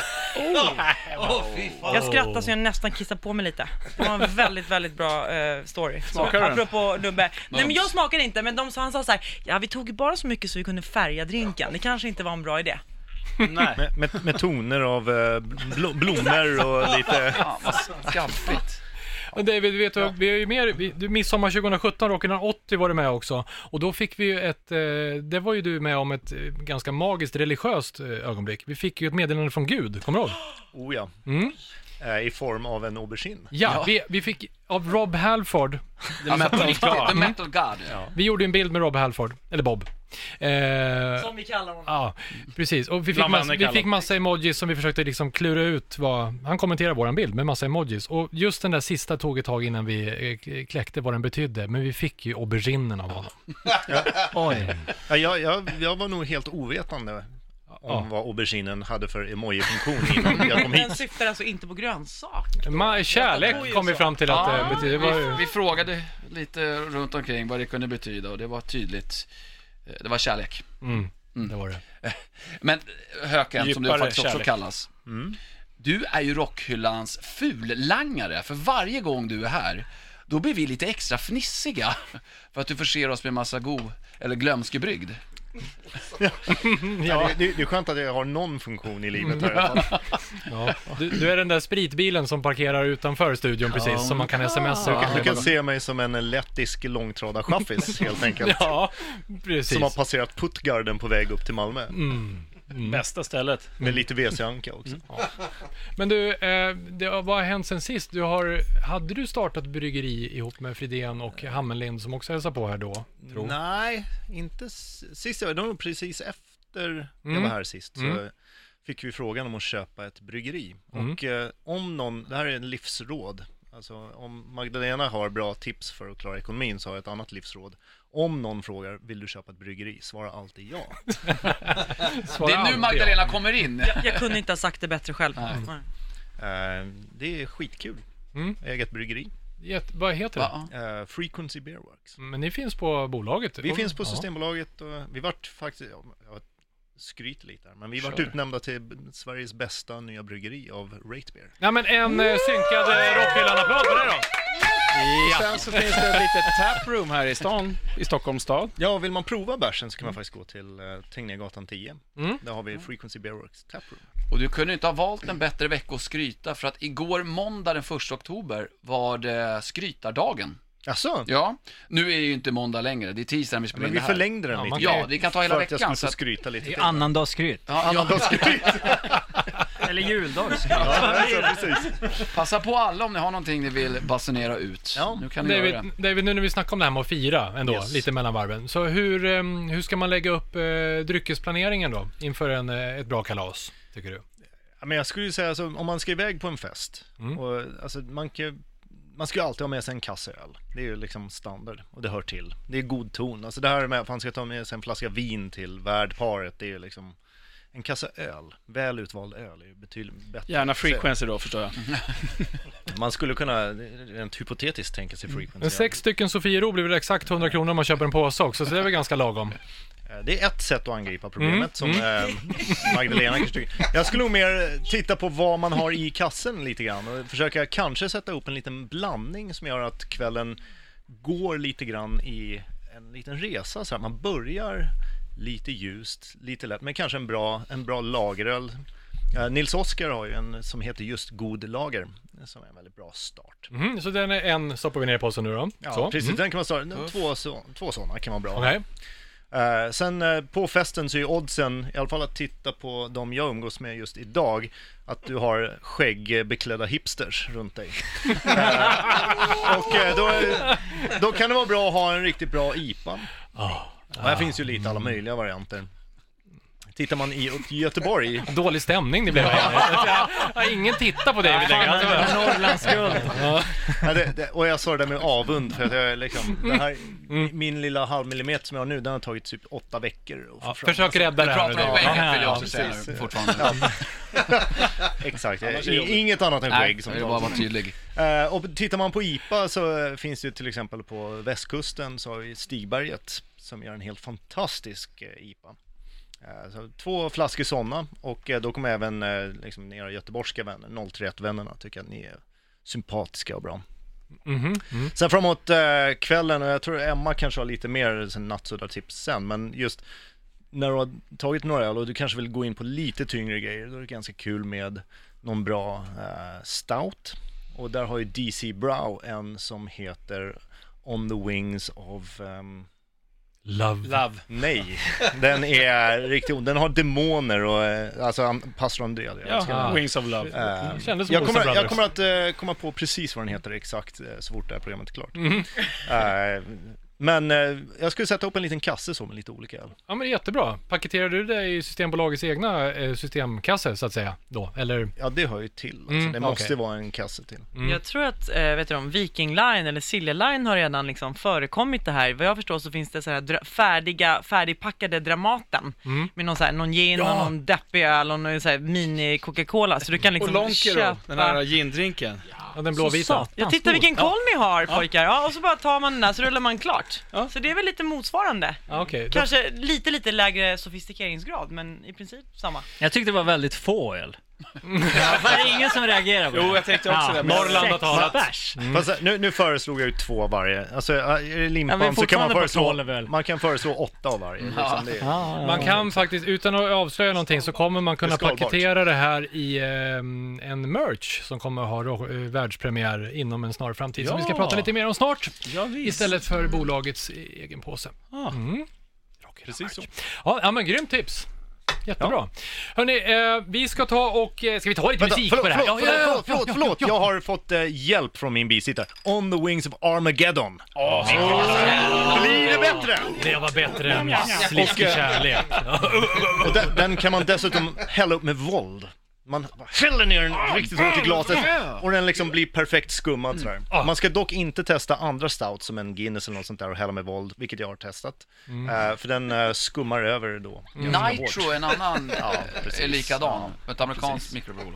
[SPEAKER 5] Jag skrattade så jag nästan kissade på mig lite. Det var en väldigt, väldigt bra eh, story.
[SPEAKER 3] Smakar
[SPEAKER 5] så,
[SPEAKER 3] den?
[SPEAKER 5] apropå nubbe. Nej men jag smakade inte, men de, sa- han sa så här, ja vi tog ju bara så mycket så vi kunde färga drinken. Det kanske inte var en bra idé.
[SPEAKER 3] Nej.
[SPEAKER 7] Med, med, med toner av eh, bl- blommor och lite...
[SPEAKER 4] Fan, vad skabbigt.
[SPEAKER 2] Men David, vet du, vi är ju mer, vi, du, midsommar 2017, Rocky 1980 var du med också. Och då fick vi ju ett, eh, det var ju du med om ett eh, ganska magiskt religiöst eh, ögonblick. Vi fick ju ett meddelande från Gud, kommer du ihåg? Mm.
[SPEAKER 7] Oh ja. Eh, I form av en aubergine.
[SPEAKER 2] Ja, Vi, vi fick av Rob Halford, Alltså,
[SPEAKER 4] The metal, riktigt, the
[SPEAKER 2] Mm.
[SPEAKER 4] metal God.
[SPEAKER 2] vi gjorde ju en bild med Rob Halford, eller Bob. Eh,
[SPEAKER 5] Som vi kallar honom.
[SPEAKER 2] Ja, precis. Och vi fick,
[SPEAKER 3] Bland
[SPEAKER 2] massa,
[SPEAKER 3] vänner
[SPEAKER 2] vi
[SPEAKER 3] kallat.
[SPEAKER 2] fick massa emojis som vi försökte liksom klura ut vad... Han kommenterade våran bild med massa emojis. Och just den där sista tog ett tag innan vi eh, k- kläckte vad den betydde. Men vi fick ju auberginen av honom.
[SPEAKER 8] Oj.
[SPEAKER 7] Ja, jag, jag, jag var nog helt ovetande om vad auberginen hade för emoji-funktion innan jag kom
[SPEAKER 5] Den
[SPEAKER 7] hit.
[SPEAKER 5] syftar alltså inte på grönsak.
[SPEAKER 2] Ma- kärlek kom vi fram till att det betyder. Det var
[SPEAKER 4] vi,
[SPEAKER 2] ju...
[SPEAKER 4] vi frågade lite runt omkring vad det kunde betyda och det var tydligt. Eh, Det var kärlek.
[SPEAKER 2] Mm, det var det.
[SPEAKER 4] Men eh, höken, som du
[SPEAKER 3] Djupare
[SPEAKER 4] faktiskt också
[SPEAKER 3] kärlek.
[SPEAKER 4] kallas. Du är ju rockhyllans fullangare, för varje gång du är här, då blir vi lite extra fnissiga för att du förser oss med massa god, eller glömskebrygd.
[SPEAKER 7] Ja. Det, det är skönt att jag har någon funktion i livet här i alla fall.
[SPEAKER 2] Ja. Du, du är den där spritbilen som parkerar utanför studion precis, som man kan smsa. och-
[SPEAKER 7] Du kan se mig som en lettisk långtradarchaffis helt enkelt.
[SPEAKER 2] Ja, precis. Mm.
[SPEAKER 7] Som har passerat Puttgarden på väg upp till Malmö.
[SPEAKER 3] Bästa stället.
[SPEAKER 7] Med lite WC-anka också.
[SPEAKER 2] Men du, eh, det, har- vad har hänt sen sist? Du har, hade du startat bryggeri ihop med Fridén och Hammenlind som också hälsar på här då? Tro.
[SPEAKER 7] Eh. Nej, inte s- sist. Jag var- Det var nog precis efter jag
[SPEAKER 2] Mm.
[SPEAKER 7] var här sist. Så fick vi frågan om att köpa ett bryggeri.
[SPEAKER 4] Mm.
[SPEAKER 7] Och eh, om någon, det här är en livsråd. Alltså om Magdalena har bra tips för att klara ekonomin så har jag ett annat livsråd. Om någon frågar, vill du köpa ett bryggeri? Svara alltid ja.
[SPEAKER 2] Svara
[SPEAKER 4] Det är nu
[SPEAKER 2] aldrig.
[SPEAKER 4] Magdalena kommer in.
[SPEAKER 5] Jag kunde inte ha sagt det bättre själv. Nej.
[SPEAKER 7] Eh, det är skitkul.
[SPEAKER 2] Mm.
[SPEAKER 7] Äga ett bryggeri.
[SPEAKER 2] Jätte- vad heter det? Mm,
[SPEAKER 4] Ja.
[SPEAKER 7] Eh, Frequency Beer Works.
[SPEAKER 2] Men ni finns på bolaget? typ.
[SPEAKER 7] Vi finns på
[SPEAKER 2] Ja.
[SPEAKER 7] Systembolaget och vi vart faktiskt, ja, jag skryter lite här, men vi vart
[SPEAKER 4] Kör.
[SPEAKER 7] utnämnda till b- Sveriges bästa nya bryggeri av Ratebeer.
[SPEAKER 2] Nej men en eh, synkad eh, Rockhyllan-applåd på det då!
[SPEAKER 3] Sen så finns det ett litet taproom här i stan, i Stockholms stad.
[SPEAKER 7] Ja, vill man prova bärsen så kan man faktiskt gå till eh, Tegnérgatan 10.
[SPEAKER 2] Mm.
[SPEAKER 7] Där har vi Frequency Bearworks Taproom.
[SPEAKER 4] Och du kunde inte ha valt en bättre vecka att skryta för att igår måndag den 1 oktober var det skrytardagen.
[SPEAKER 7] Jaså?
[SPEAKER 4] Ja, nu är det ju inte måndag längre, det är tisdag när vi spelar
[SPEAKER 7] Men
[SPEAKER 4] in
[SPEAKER 7] vi
[SPEAKER 4] det här.
[SPEAKER 7] förlängde den
[SPEAKER 2] Ja,
[SPEAKER 7] lite.
[SPEAKER 2] man-
[SPEAKER 4] Ja, vi kan ta hela
[SPEAKER 7] för att jag skulle
[SPEAKER 4] veckan. Så
[SPEAKER 7] få
[SPEAKER 4] att,
[SPEAKER 7] skryta lite
[SPEAKER 8] Det är
[SPEAKER 7] till.
[SPEAKER 8] annandags skryt.
[SPEAKER 4] ja, ja,
[SPEAKER 7] Annandag skryt!
[SPEAKER 8] Eller juldags skryt.
[SPEAKER 7] Ja, alltså, precis.
[SPEAKER 4] passa på alla om ni har någonting ni vill basunera ut.
[SPEAKER 7] Ja.
[SPEAKER 4] Nu kan ni göra det.
[SPEAKER 2] David, David, nu när vi snackar om det här med att fira ändå,
[SPEAKER 7] Yes.
[SPEAKER 2] lite mellan varven. Så hur, eh, hur ska man lägga upp eh, dryckesplaneringen då, inför en, eh, ett bra kalas, tycker du?
[SPEAKER 7] Ja, Men jag skulle ju säga, alltså, om man ska iväg på en fest, och, alltså, man, kan, man ska ju alltid ha med sig en kasse öl. Det är ju liksom standard och det hör till. Det är god ton. Alltså det här med att man ska ta med sig en flaska vin till värdparet, det är ju liksom en kasse öl, väl utvald öl, är ju betydligt bättre.
[SPEAKER 3] Gärna frequency då förstår jag.
[SPEAKER 7] Man skulle kunna rent hypotetiskt tänka sig frequency.
[SPEAKER 2] Men sex stycken Sofiero blir väl exakt 100 kronor om man köper en påse också, så det är väl ganska lagom.
[SPEAKER 7] Eh, Det är ett sätt att angripa problemet som eh, Magdalena kanske tycker. Jag skulle nog mer titta på vad man har i kassen lite grann och försöka kanske sätta ihop en liten blandning som gör att kvällen går lite grann i en liten resa så här. Man börjar lite ljust, lite lätt, men kanske en bra, en bra lageröl. Eh, Nils Oskar har ju en som heter just God Lager, som är en väldigt bra start.
[SPEAKER 2] Mm, så den är en, stoppar vi ner i påsen nu då.
[SPEAKER 7] Ja,
[SPEAKER 2] så. Mm.
[SPEAKER 7] precis. Den kan man starta, två, så, två sådana kan vara bra.
[SPEAKER 2] Okej.
[SPEAKER 7] Eh, sen eh, på festen så är ju oddsen, i alla fall att titta på de jag umgås med just idag, att du har skäggbeklädda hipsters runt dig. Eh, och eh, då, då kan det vara bra att ha en riktigt bra IPA.
[SPEAKER 2] Ah.
[SPEAKER 7] Och här finns ju lite alla möjliga varianter. Tittar man i åt Göteborg,
[SPEAKER 2] Dålig stämning det blev här. Ja, Ingen tittar på David längre.
[SPEAKER 8] Norrlandsguld.
[SPEAKER 7] Ja, det, det, och jag sa det där med avund för att jag liksom, det här, min lilla halvmillimeter som jag har nu, den har tagit typ åtta veckor att få
[SPEAKER 2] Ja,
[SPEAKER 7] fram.
[SPEAKER 2] försök rädda
[SPEAKER 4] Du
[SPEAKER 2] det här nu
[SPEAKER 4] Alltså, pratar om
[SPEAKER 2] David.
[SPEAKER 4] skägget vill jag också
[SPEAKER 7] ja,
[SPEAKER 4] säga
[SPEAKER 7] precis.
[SPEAKER 4] nu, fortfarande.
[SPEAKER 7] Exakt,
[SPEAKER 3] är det
[SPEAKER 7] I,
[SPEAKER 3] jobbigt.
[SPEAKER 7] inget annat än
[SPEAKER 4] Nej,
[SPEAKER 7] skägg
[SPEAKER 4] jag
[SPEAKER 7] som
[SPEAKER 4] vill
[SPEAKER 7] talas
[SPEAKER 4] bara
[SPEAKER 7] om.
[SPEAKER 4] vara tydlig.
[SPEAKER 7] Eh, och tittar man på IPA så eh, finns det ju till exempel på västkusten så har vi Stigberget som gör en helt fantastisk eh, IPA. Eh, så två flaskor sådana och eh, då kommer även eh, liksom, era göteborgska vänner, 031-vännerna, tycka att ni är sympatiska och bra.
[SPEAKER 2] Mhm.
[SPEAKER 7] Mm. Sen framåt eh, kvällen, och jag tror Emma kanske har lite mer sen nattsuddartips sen, men just när du har tagit några öl och du kanske vill gå in på lite tyngre grejer, då är det ganska kul med någon bra eh, stout. Och där har ju DC Brow en som heter On the Wings of... ehm,
[SPEAKER 2] Love.
[SPEAKER 3] Love.
[SPEAKER 7] nej, den är riktigt ond. Den har demoner och... eh, Alltså, han- pastor André, jag älskar den.
[SPEAKER 3] Ja, Wings of Love.
[SPEAKER 7] Ehm,
[SPEAKER 2] Kändes som
[SPEAKER 7] jag,
[SPEAKER 2] Olsen
[SPEAKER 7] kommer, jag
[SPEAKER 2] Brothers.
[SPEAKER 7] kommer att eh, komma på precis vad den heter exakt eh, så fort det här programmet är klart.
[SPEAKER 2] Mm.
[SPEAKER 7] Eh, men eh, jag skulle sätta upp en liten kasse så med lite olika öl.
[SPEAKER 2] Ja men jättebra. Paketerar du det i Systembolagets egna eh, systemkasse så att säga då? Eller?
[SPEAKER 7] Ja, det hör ju till. Alltså.
[SPEAKER 2] Mm,
[SPEAKER 7] det måste
[SPEAKER 2] okej.
[SPEAKER 7] vara en kasse till.
[SPEAKER 2] Mm.
[SPEAKER 5] Jag tror att eh, vet du, om Viking Line eller Silja Line har redan liksom förekommit det här. Vad jag förstår så finns det så här dra- färdiga, färdigpackade Dramaten med någon, så här, någon gin och någon deppig öl och någon så här mini Coca-Cola. Så du kan
[SPEAKER 3] Och
[SPEAKER 5] liksom
[SPEAKER 3] Lonkero,
[SPEAKER 5] köpa...
[SPEAKER 3] den här gindrinken.
[SPEAKER 2] Ja, den blåvita.
[SPEAKER 5] Jag tittar vilken koll ni har pojkar. Ja, och så bara tar man den där så rullar man klart.
[SPEAKER 3] Ja.
[SPEAKER 5] Så det är väl lite motsvarande.
[SPEAKER 2] Ja, okej. Då-
[SPEAKER 5] Kanske lite, lite lägre sofistikeringsgrad, men i princip samma.
[SPEAKER 8] Jag tyckte det var väldigt få öl. Var det ingen som reagerade på det?
[SPEAKER 3] Jo, jag tänkte också det, men-
[SPEAKER 2] Norrland har
[SPEAKER 8] sex
[SPEAKER 2] talat. Mm.
[SPEAKER 8] bärs.
[SPEAKER 7] Fast, eh, nu, nu föreslog jag ju två av varje. Alltså, eh, är det limpan
[SPEAKER 8] Ja, vi är
[SPEAKER 7] så kan man
[SPEAKER 8] fortfarande på
[SPEAKER 7] föreslå,
[SPEAKER 8] tolv öl.
[SPEAKER 7] man kan föreslå åtta av varje. Liksom. Det, är-
[SPEAKER 8] Ja, ja.
[SPEAKER 2] Mm. Man kan faktiskt, utan att avslöja någonting, så kommer man kunna
[SPEAKER 7] Det är skalbart.
[SPEAKER 2] paketera det här i eh, en merch som kommer att ha ro- eh, världspremiär inom en snar framtid, som vi ska
[SPEAKER 3] Ja.
[SPEAKER 2] prata lite mer om snart,
[SPEAKER 3] Ja, visst.
[SPEAKER 2] istället för bolagets egen påse.
[SPEAKER 3] Ah.
[SPEAKER 2] Mm.
[SPEAKER 3] Precis så.
[SPEAKER 2] Ja, ja, men grymt tips! Jättebra. Hörni, eh, vi ska ta och, eh, ska vi ta lite
[SPEAKER 7] Vänta,
[SPEAKER 2] musik
[SPEAKER 7] förlåt,
[SPEAKER 2] på det här?
[SPEAKER 7] förlåt,
[SPEAKER 2] ja, ja, ja,
[SPEAKER 7] förlåt, förlåt, förlåt. Jag har fått eh, hjälp från min bisittare. On the wings of Armageddon. Blir det bättre? eh,
[SPEAKER 2] Det var bättre än sliskig kärlek.
[SPEAKER 7] Och den, den kan man dessutom hälla upp med våld. Man häller ner den riktigt hårt i glaset och den liksom blir perfekt skummad sådär. Man ska dock inte testa andra stout som en Guinness eller något sånt där och hälla med våld, vilket jag har testat. Eh, för den eh, skummar över då.
[SPEAKER 2] mm.
[SPEAKER 4] Mm. Nitro, en annan, eh,
[SPEAKER 7] precis.
[SPEAKER 4] är likadan. Ett amerikanskt mikrobolag.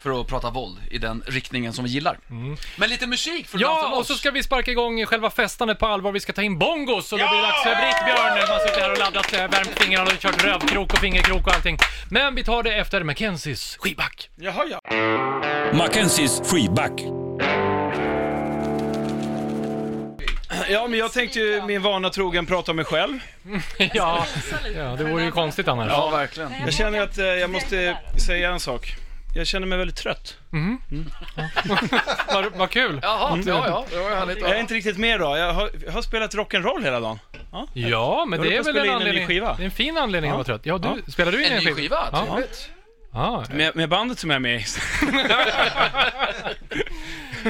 [SPEAKER 4] För att prata våld i den riktningen som vi gillar.
[SPEAKER 2] Mm.
[SPEAKER 4] Men lite musik för att dansa
[SPEAKER 2] Ja, och
[SPEAKER 4] loss.
[SPEAKER 2] så ska vi sparka igång själva festandet på allvar. Vi ska ta in bongos och det blir dags för Britt-Björn. Man har suttit här och laddat, eh, värmt fingrarna och kört rövkrok och fingerkrok och allting. Men vi tar det efter Mackenzies skivback.
[SPEAKER 3] Jaha, ja.
[SPEAKER 1] Mackenzies freeback.
[SPEAKER 3] Ja, men jag tänkte ju min vana trogen prata om mig själv.
[SPEAKER 2] ja. ja, det vore ju konstigt annars.
[SPEAKER 4] Ja, verkligen.
[SPEAKER 3] Jag känner att eh, jag måste säga en sak. Jag känner mig väldigt trött.
[SPEAKER 2] Mm.
[SPEAKER 3] Mm.
[SPEAKER 2] Vad, vad kul.
[SPEAKER 4] Jaha, ja, ja, det var ju härligt.
[SPEAKER 3] Jag är inte riktigt med idag. Jag har, jag har spelat rock'n'roll hela dagen.
[SPEAKER 2] Ja, men det
[SPEAKER 3] Jag
[SPEAKER 2] är
[SPEAKER 3] håller på att
[SPEAKER 2] väl en
[SPEAKER 3] spela in en ny
[SPEAKER 2] anledning.
[SPEAKER 3] skiva.
[SPEAKER 2] Det är en fin anledning att vara trött. Ja, du, spelar du in
[SPEAKER 4] En ny skiva,
[SPEAKER 2] Ja.
[SPEAKER 4] trevligt.
[SPEAKER 2] Ja,
[SPEAKER 3] Med, med bandet som jag är med i.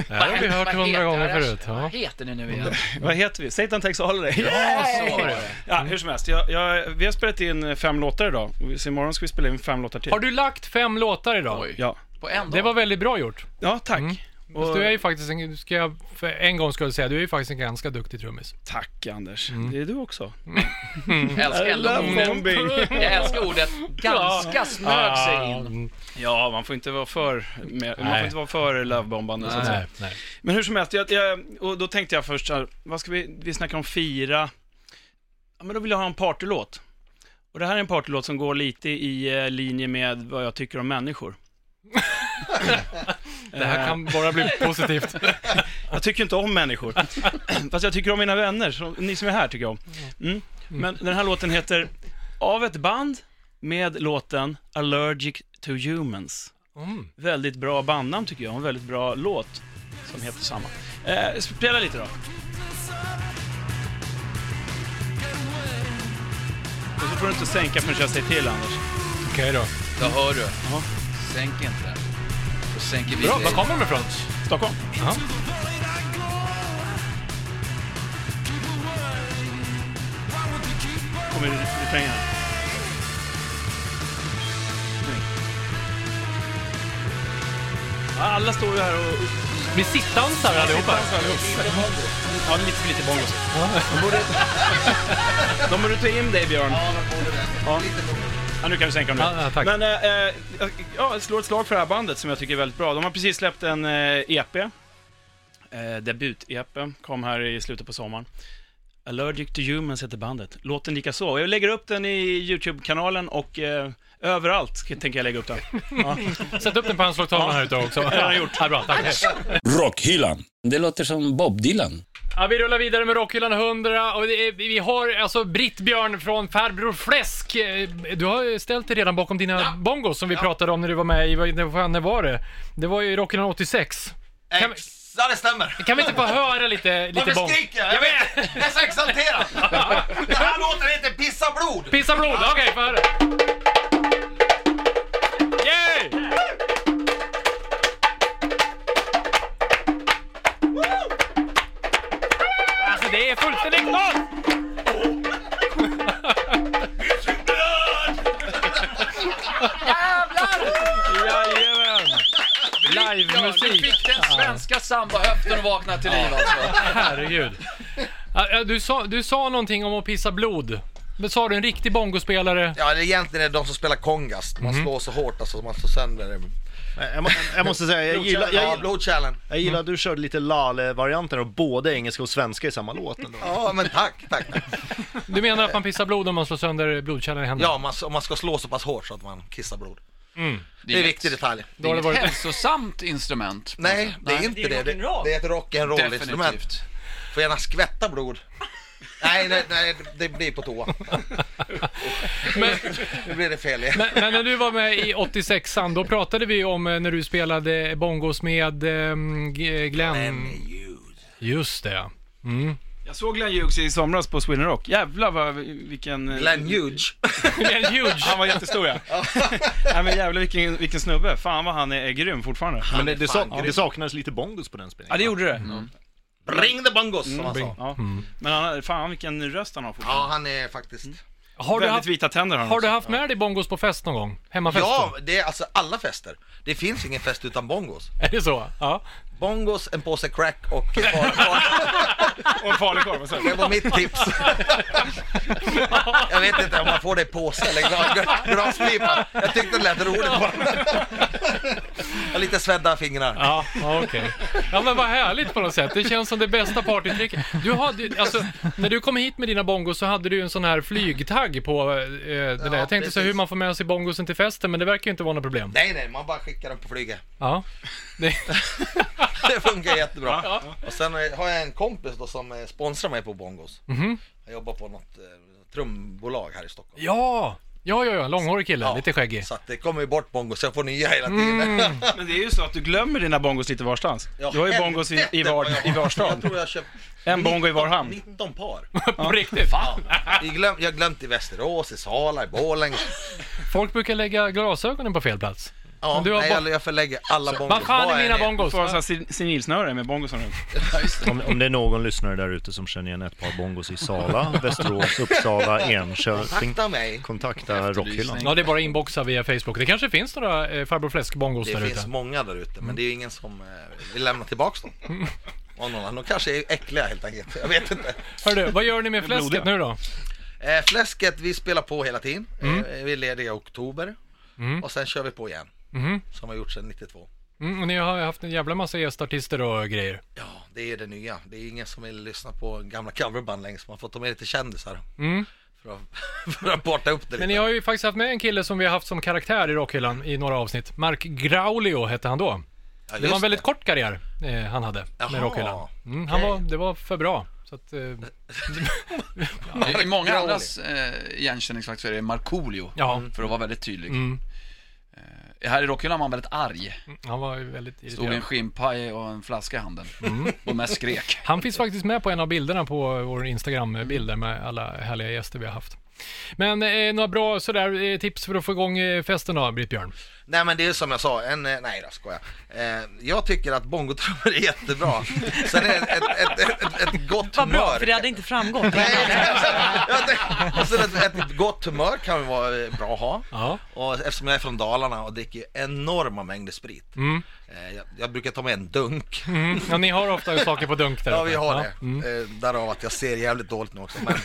[SPEAKER 2] det här har vi hört hundra gånger förut. Ja.
[SPEAKER 4] Vad heter ni nu igen?
[SPEAKER 3] Vad heter vi? Satan takes all day. Ja, hur som helst. Jag, jag, vi har spelat in fem låtar idag. Och vi- så imorgon ska vi spela in fem låtar till.
[SPEAKER 2] Har du lagt fem låtar idag?
[SPEAKER 4] Oj.
[SPEAKER 3] Ja.
[SPEAKER 4] På en
[SPEAKER 2] Det
[SPEAKER 4] dag?
[SPEAKER 2] var väldigt bra gjort. Mm.
[SPEAKER 3] Ja, tack.
[SPEAKER 2] Fast
[SPEAKER 3] Och,
[SPEAKER 2] Du är ju faktiskt, en, ska jag för en gång skulle säga, du är ju faktiskt en ganska duktig trummis. Mm.
[SPEAKER 3] Tack Anders. Det är du också.
[SPEAKER 4] Jag Mm. älskar ändå ordet. Jag älskar ordet ganska smög sig in.
[SPEAKER 3] Ja, man får inte vara för, med, man
[SPEAKER 2] Nej.
[SPEAKER 3] får inte vara för lovebombande så att säga.
[SPEAKER 2] Nej, nej.
[SPEAKER 3] Men hur som helst, jag, jag, och då tänkte jag först så här, vad ska vi, vi snackar om fira. Ja, men då vill jag ha en partylåt. Och det här är en partylåt som går lite i eh, linje med vad jag tycker om människor.
[SPEAKER 2] Det här kan bara bli positivt.
[SPEAKER 3] Jag tycker inte om människor. Fast jag tycker om mina vänner, så ni som är här tycker jag om. Mm. Men den här låten heter Av ett band med låten Allergic to Humans.
[SPEAKER 2] Mm.
[SPEAKER 3] Väldigt bra bandnamn tycker jag, och en väldigt bra låt som heter samma. Eh, spela lite då. Och så får du inte sänka förrän jag säger till Anders.
[SPEAKER 2] Okej då.
[SPEAKER 4] Där hör du. Sänk inte. Då sänker vi
[SPEAKER 2] Bra,
[SPEAKER 4] dig.
[SPEAKER 2] var kommer de ifrån?
[SPEAKER 3] Stockholm. Kommer refrängen här. Ja, Alla står ju här och...
[SPEAKER 2] Vi sittdansar allihopa.
[SPEAKER 3] Ja, det är lite för lite bongos. De borde ta in dig, Björn. Ja, ja nu kan du sänka dem
[SPEAKER 2] Ja, ja, tack.
[SPEAKER 3] Men eh, eh, ja, jag slår ett slag för det här bandet som jag tycker är väldigt bra. De har precis släppt en eh, EP. Eh, Debut-EP. Kom här i slutet på sommaren. Allergic to Humans heter bandet. Låten lika så. Jag lägger upp den i YouTube-kanalen och eh, överallt tänker jag lägga upp den.
[SPEAKER 2] Sätt upp den på anslagstavlan här ute också. Ja, gjort. Ja, bra, tack.
[SPEAKER 1] Rockhyllan. Det låter som Bob Dylan.
[SPEAKER 2] Ja, vi rullar vidare med Rockhyllan 100 och det är, vi har alltså Britt-Björn från Farbror Fläsk. Eh, Du har ju ställt dig redan bakom dina bongos som vi pratade om när du var med i, vad- när fan var det? Det var ju Rockhyllan 86. Kan vi-
[SPEAKER 6] Ex- Ja, det stämmer.
[SPEAKER 2] Kan vi inte få höra lite, lite
[SPEAKER 6] Varför
[SPEAKER 2] bång?
[SPEAKER 6] skriker jag?
[SPEAKER 2] Jag vet!
[SPEAKER 6] Jag är så exalterad. Det här låter inte pissa blod.
[SPEAKER 2] Pissa blod, okej, få höra. Yay! Alltså det är fullständigt gott!
[SPEAKER 3] Jajamän!
[SPEAKER 4] Nu
[SPEAKER 2] Livemusik!
[SPEAKER 4] fick den svenska sambahöften att vakna till liv alltså.
[SPEAKER 2] Herregud. Ja, ja, Du sa, du sa någonting om att pissa blod. Men sa du en riktig bongospelare?
[SPEAKER 6] Ja, det är egentligen det de som spelar kongast.
[SPEAKER 2] Mhm.
[SPEAKER 6] Man slår så hårt alltså, man slår sönder det.
[SPEAKER 7] Jag, må, jag måste säga, jag gillar, jag
[SPEAKER 6] Ja,
[SPEAKER 7] gillar,
[SPEAKER 6] blodkärlen.
[SPEAKER 7] jag gillar att du körde lite lale-varianten och både engelska och svenska i samma låt ändå.
[SPEAKER 6] Ja, men tack, tack. tack.
[SPEAKER 2] Du menar att man pissar blod om man slår sönder blodkärlen i händerna? Mm.
[SPEAKER 6] Ja, man, om man ska slå så pass hårt så att man kissar blod. Det är en
[SPEAKER 4] inget-
[SPEAKER 6] viktig detalj.
[SPEAKER 4] Det är
[SPEAKER 2] det
[SPEAKER 4] ett
[SPEAKER 2] varit-
[SPEAKER 4] hälsosamt instrument.
[SPEAKER 6] Nej, det är inte det. Det, det är ett rock'n'roll-instrument.
[SPEAKER 4] Definitivt.
[SPEAKER 6] Får gärna skvätta blod. Nej, nej, nej, det blir på toa.
[SPEAKER 2] Men,
[SPEAKER 6] Nu blir det fel igen.
[SPEAKER 2] men, men när du var med i 86an, då pratade vi ju om eh, när du spelade bongos med ehm, G- Glenn. Just det. Mm.
[SPEAKER 3] Jag såg Glenn Hughes i somras på Sweden Rock. Jävlar vad, vilken... eh,
[SPEAKER 6] Glenn Hughes.
[SPEAKER 2] Glenn Hughes.
[SPEAKER 3] Han var jättestor ja. Nej men jävlar vilken, vilken snubbe. Fan vad han är, är grym fortfarande.
[SPEAKER 7] Men det, det,
[SPEAKER 6] fan
[SPEAKER 7] sak, det saknades lite bongos på den
[SPEAKER 3] Ja,
[SPEAKER 7] spelningen. Mm.
[SPEAKER 3] det gjorde det. Mm,
[SPEAKER 6] Bring the bongos, som han sa.
[SPEAKER 3] Ja. Men han, fan vilken röst han har fortfarande.
[SPEAKER 6] Ja, han är faktiskt...
[SPEAKER 2] Har du
[SPEAKER 3] Väldigt
[SPEAKER 2] haft,
[SPEAKER 3] vita tänder har han
[SPEAKER 2] har du
[SPEAKER 3] också.
[SPEAKER 2] haft med dig bongos på fest någon gång? Hemmafester?
[SPEAKER 6] Ja, det är alltså alla fester. Det finns ingen fest utan bongos.
[SPEAKER 2] Är det så? Ja.
[SPEAKER 6] Bongos, en påse crack och falukorv.
[SPEAKER 3] Och en falukorv. vad sa
[SPEAKER 6] Det
[SPEAKER 3] du?
[SPEAKER 6] var mitt tips. Jag vet inte om man får det i påse eller gra- glasflipa. Jag tyckte det lät roligt bara. Jag har lite svedda fingrar.
[SPEAKER 2] Ja, ja, okej. Ja, men vad härligt på något sätt. Det känns som det bästa partytricket. Du hade, alltså, när du kom hit med dina bongos så hade du ju en sån här flygtagg på eh, det där. Jag tänkte så
[SPEAKER 6] precis.
[SPEAKER 2] hur man får med sig bongosen till festen, men det verkar ju inte vara något problem.
[SPEAKER 6] Nej, nej, man bara skickar dem på flyget.
[SPEAKER 2] Ja. Det,
[SPEAKER 6] Det funkar jättebra. Och sen eh, har jag en kompis då som eh, sponsrar mig på bongos.
[SPEAKER 2] Mhm.
[SPEAKER 6] Jag jobbar på något eh, trumbolag här i Stockholm.
[SPEAKER 2] ja! Ja, ja, ja, långhårig kille,
[SPEAKER 6] Ja,
[SPEAKER 2] lite skäggig.
[SPEAKER 6] Så att det kommer ju bort bongos, jag får nya hela tiden.
[SPEAKER 2] Mm.
[SPEAKER 3] Men det är ju så att du glömmer dina bongos lite varstans.
[SPEAKER 6] Ja,
[SPEAKER 3] du har ju bongos i, i,
[SPEAKER 6] helvete vad jag
[SPEAKER 3] var, i
[SPEAKER 6] har.
[SPEAKER 3] var
[SPEAKER 6] Jag
[SPEAKER 3] stad.
[SPEAKER 6] tror jag köpt
[SPEAKER 3] En bongo i var hamn.
[SPEAKER 6] 19 par.
[SPEAKER 2] På riktigt.
[SPEAKER 6] Jag glöm, jag har glömt i Västerås, i Sala, i Borlänge.
[SPEAKER 2] Folk brukar lägga glasögonen på fel plats.
[SPEAKER 6] Ja,
[SPEAKER 2] Men du har
[SPEAKER 6] nej,
[SPEAKER 2] bara-
[SPEAKER 6] jag, jag förlägger alla bongos.
[SPEAKER 2] Vad fan
[SPEAKER 6] Vad
[SPEAKER 2] är mina
[SPEAKER 6] ni-
[SPEAKER 2] bongos?
[SPEAKER 3] Får en sån här senilsnöre med bongosen runt. Mm.
[SPEAKER 7] Om, om det är någon lyssnare där ute som känner igen ett par bongos i Sala, Västerås, Uppsala, Enköping,
[SPEAKER 6] Kontakta mig.
[SPEAKER 7] kontakta Rockhyllan.
[SPEAKER 2] Ja, det är bara inboxa via Facebook. Det kanske finns några eh, farbror fläsk-bongos
[SPEAKER 6] Det
[SPEAKER 2] där
[SPEAKER 6] finns
[SPEAKER 2] ute.
[SPEAKER 6] många där ute, men det är ju ingen som eh, vill lämna tillbaks dem.
[SPEAKER 2] Mm.
[SPEAKER 6] Av någon anledning. De kanske är äckliga helt enkelt, jag vet inte.
[SPEAKER 2] Hörru, vad gör ni med fläsket nu då? Mm.
[SPEAKER 6] Eh, fläsket, vi spelar på hela tiden. Eh, vi är lediga i oktober. Och sen kör vi på igen. Som har gjort sedan 92.
[SPEAKER 2] Mhm. Mm, och ni har ju haft en jävla massa gästartister och grejer.
[SPEAKER 6] Ja, det är det nya. Det är ingen som vill lyssna på gamla coverband längre, så man får ta med lite kändisar.
[SPEAKER 2] Mm.
[SPEAKER 6] För att, för att parta upp det
[SPEAKER 2] Men
[SPEAKER 6] lite.
[SPEAKER 2] ni har ju faktiskt haft med en kille som vi har haft som karaktär i Rockhyllan i några avsnitt. Mark Graulio hette han då.
[SPEAKER 6] Ja,
[SPEAKER 2] Det var en
[SPEAKER 6] just
[SPEAKER 2] väldigt kort karriär eh, han hade
[SPEAKER 6] Jaha,
[SPEAKER 2] med Rockhyllan. Mm, han
[SPEAKER 6] okej.
[SPEAKER 2] var, det var för bra. Så att, eh,
[SPEAKER 4] I- I många
[SPEAKER 6] Markoolio.
[SPEAKER 4] andras eh, igenkänningsfaktor är det Markoolio,
[SPEAKER 2] ja,
[SPEAKER 4] för att vara väldigt tydlig.
[SPEAKER 2] Mm.
[SPEAKER 4] Eh, här i Rockhyllan var han väldigt arg.
[SPEAKER 2] han var ju väldigt
[SPEAKER 4] Stod en
[SPEAKER 2] irriterad. Mm.
[SPEAKER 4] skimpaj och en flaska i handen. Mm. Och mest skrek.
[SPEAKER 2] Han finns faktiskt med på en av bilderna på vår Instagram-bilder med alla härliga gäster vi har haft. Men eh, några bra sådär, eh, tips för att få igång eh, festen då, Britt-Björn?
[SPEAKER 6] Nej men det är som jag sa, en, eh, nej då skojar. Eh, jag tycker att bongotrummor är jättebra. Sen är det ett, ett, ett, ett, ett gott
[SPEAKER 5] Vad bra,
[SPEAKER 6] humör.
[SPEAKER 5] för det hade inte framgått.
[SPEAKER 6] Nej, nej, alltså, jag tänkte- och sen ett, ett gott humör kan ju vara eh, bra att ha.
[SPEAKER 2] Ja.
[SPEAKER 6] Och eftersom jag är från Dalarna och dricker enorma mängder sprit.
[SPEAKER 2] Mm.
[SPEAKER 6] Eh, jag, jag brukar ta med en dunk.
[SPEAKER 2] Mm. ja, ni har ofta saker på dunk där
[SPEAKER 6] Ja,
[SPEAKER 2] uppe.
[SPEAKER 6] vi har
[SPEAKER 2] Ja. Mm.
[SPEAKER 6] det. Eh, därav att jag ser jävligt dåligt nu också. Men,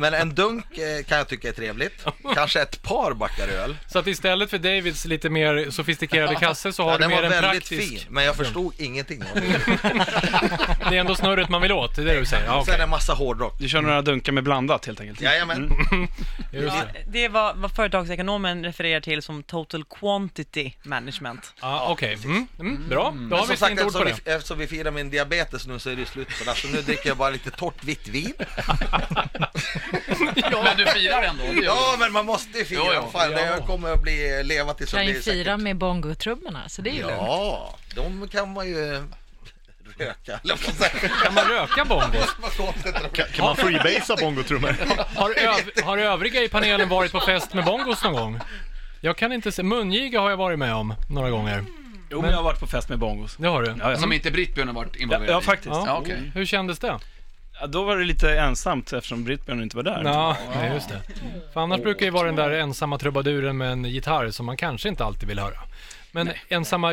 [SPEAKER 6] men en dunk eh, kan jag tycka är trevligt. Kanske ett par backar öl.
[SPEAKER 2] Så att istället för Davids lite mer sofistikerade kasse så har
[SPEAKER 6] Ja,
[SPEAKER 2] du
[SPEAKER 6] den var
[SPEAKER 2] mer en
[SPEAKER 6] väldigt
[SPEAKER 2] praktisk.
[SPEAKER 6] fin, men jag förstod ingenting av det.
[SPEAKER 2] Det är ändå snurret man vill åt, det är det du säger? Ja, okej.
[SPEAKER 6] Sen en massa hårdrock. Mm.
[SPEAKER 3] Du kör några dunkar med blandat helt enkelt.
[SPEAKER 6] Jajamän.
[SPEAKER 2] Just det.
[SPEAKER 5] Det är vad, vad företagsekonomen refererar till som total quantity management.
[SPEAKER 2] Ah, Okej, mm, mm, bra. Då
[SPEAKER 6] Men
[SPEAKER 2] har vi
[SPEAKER 6] som
[SPEAKER 2] ett fint
[SPEAKER 6] sagt,
[SPEAKER 2] ord på
[SPEAKER 6] eftersom
[SPEAKER 2] det.
[SPEAKER 6] vi, eftersom Alltså, vi firar min diabetes nu så är det ju slut på det. Så nu dricker jag bara lite torrt vitt vin.
[SPEAKER 4] Men du firar ändå. det gör du.
[SPEAKER 6] Ja, men man måste ju fira.
[SPEAKER 4] Jo, jo.
[SPEAKER 6] Fan, Det kommer att bli leva tills
[SPEAKER 9] kan
[SPEAKER 6] jag
[SPEAKER 9] ju
[SPEAKER 6] blir
[SPEAKER 9] fira med bongotrummorna, så det är ju lugnt.
[SPEAKER 6] Ja, de kan man ju röka, eller vad man säger.
[SPEAKER 2] Kan man röka bongos?
[SPEAKER 6] Vad konstigt det blir.
[SPEAKER 7] Kan man freebasea bongotrummor?
[SPEAKER 2] Har, öv- har övriga i panelen varit på fest med bongos någon gång? Jag kan inte se. Mungiga har jag varit med om några gånger.
[SPEAKER 3] Jo, men jag har varit på fest med bongos.
[SPEAKER 2] Det har du. Mm.
[SPEAKER 3] Ja,
[SPEAKER 4] Som inte Brittbjörn har varit
[SPEAKER 3] ja,
[SPEAKER 4] involverad
[SPEAKER 3] ja
[SPEAKER 4] i.
[SPEAKER 3] faktiskt.
[SPEAKER 2] Ja. Mm.
[SPEAKER 4] Ja, okej.
[SPEAKER 2] Hur kändes det?
[SPEAKER 3] Ja, då var det lite ensamt eftersom Britt-Björn inte var där.
[SPEAKER 2] Ja, nej, just det. För annars brukar ju vara den där ensamma trubaduren med en gitarr som man kanske inte alltid vill höra. Men ensamma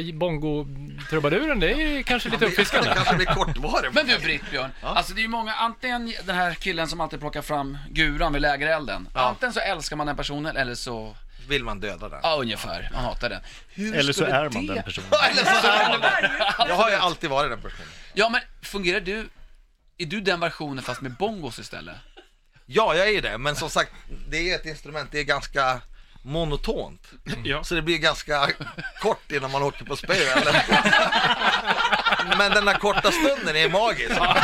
[SPEAKER 2] bongo-trubaduren, det är ju kanske lite uppfriskande.
[SPEAKER 6] Det kanske blir kortvarigt.
[SPEAKER 4] Men du Britt-Björn, alltså det är ju många, antingen den här killen som alltid plockar fram guran vid lägerelden. Antingen så älskar man den personen eller så,
[SPEAKER 6] Vill man döda den?
[SPEAKER 4] ja ungefär, man hatar den. Hur
[SPEAKER 7] Eller så
[SPEAKER 4] skulle
[SPEAKER 7] är man
[SPEAKER 4] det-
[SPEAKER 7] den personen.
[SPEAKER 6] Eller så är man det. Jag har ju alltid varit den personen.
[SPEAKER 4] Ja men fungerar du, är du den versionen fast med bongos istället?
[SPEAKER 6] Ja, jag är det, men som sagt, det är ett instrument, det är ganska monotont.
[SPEAKER 2] Mm.
[SPEAKER 3] Ja.
[SPEAKER 6] Så det blir ganska kort innan man åker på spö. Eller? Men den där korta stunden är magisk.
[SPEAKER 2] Ja,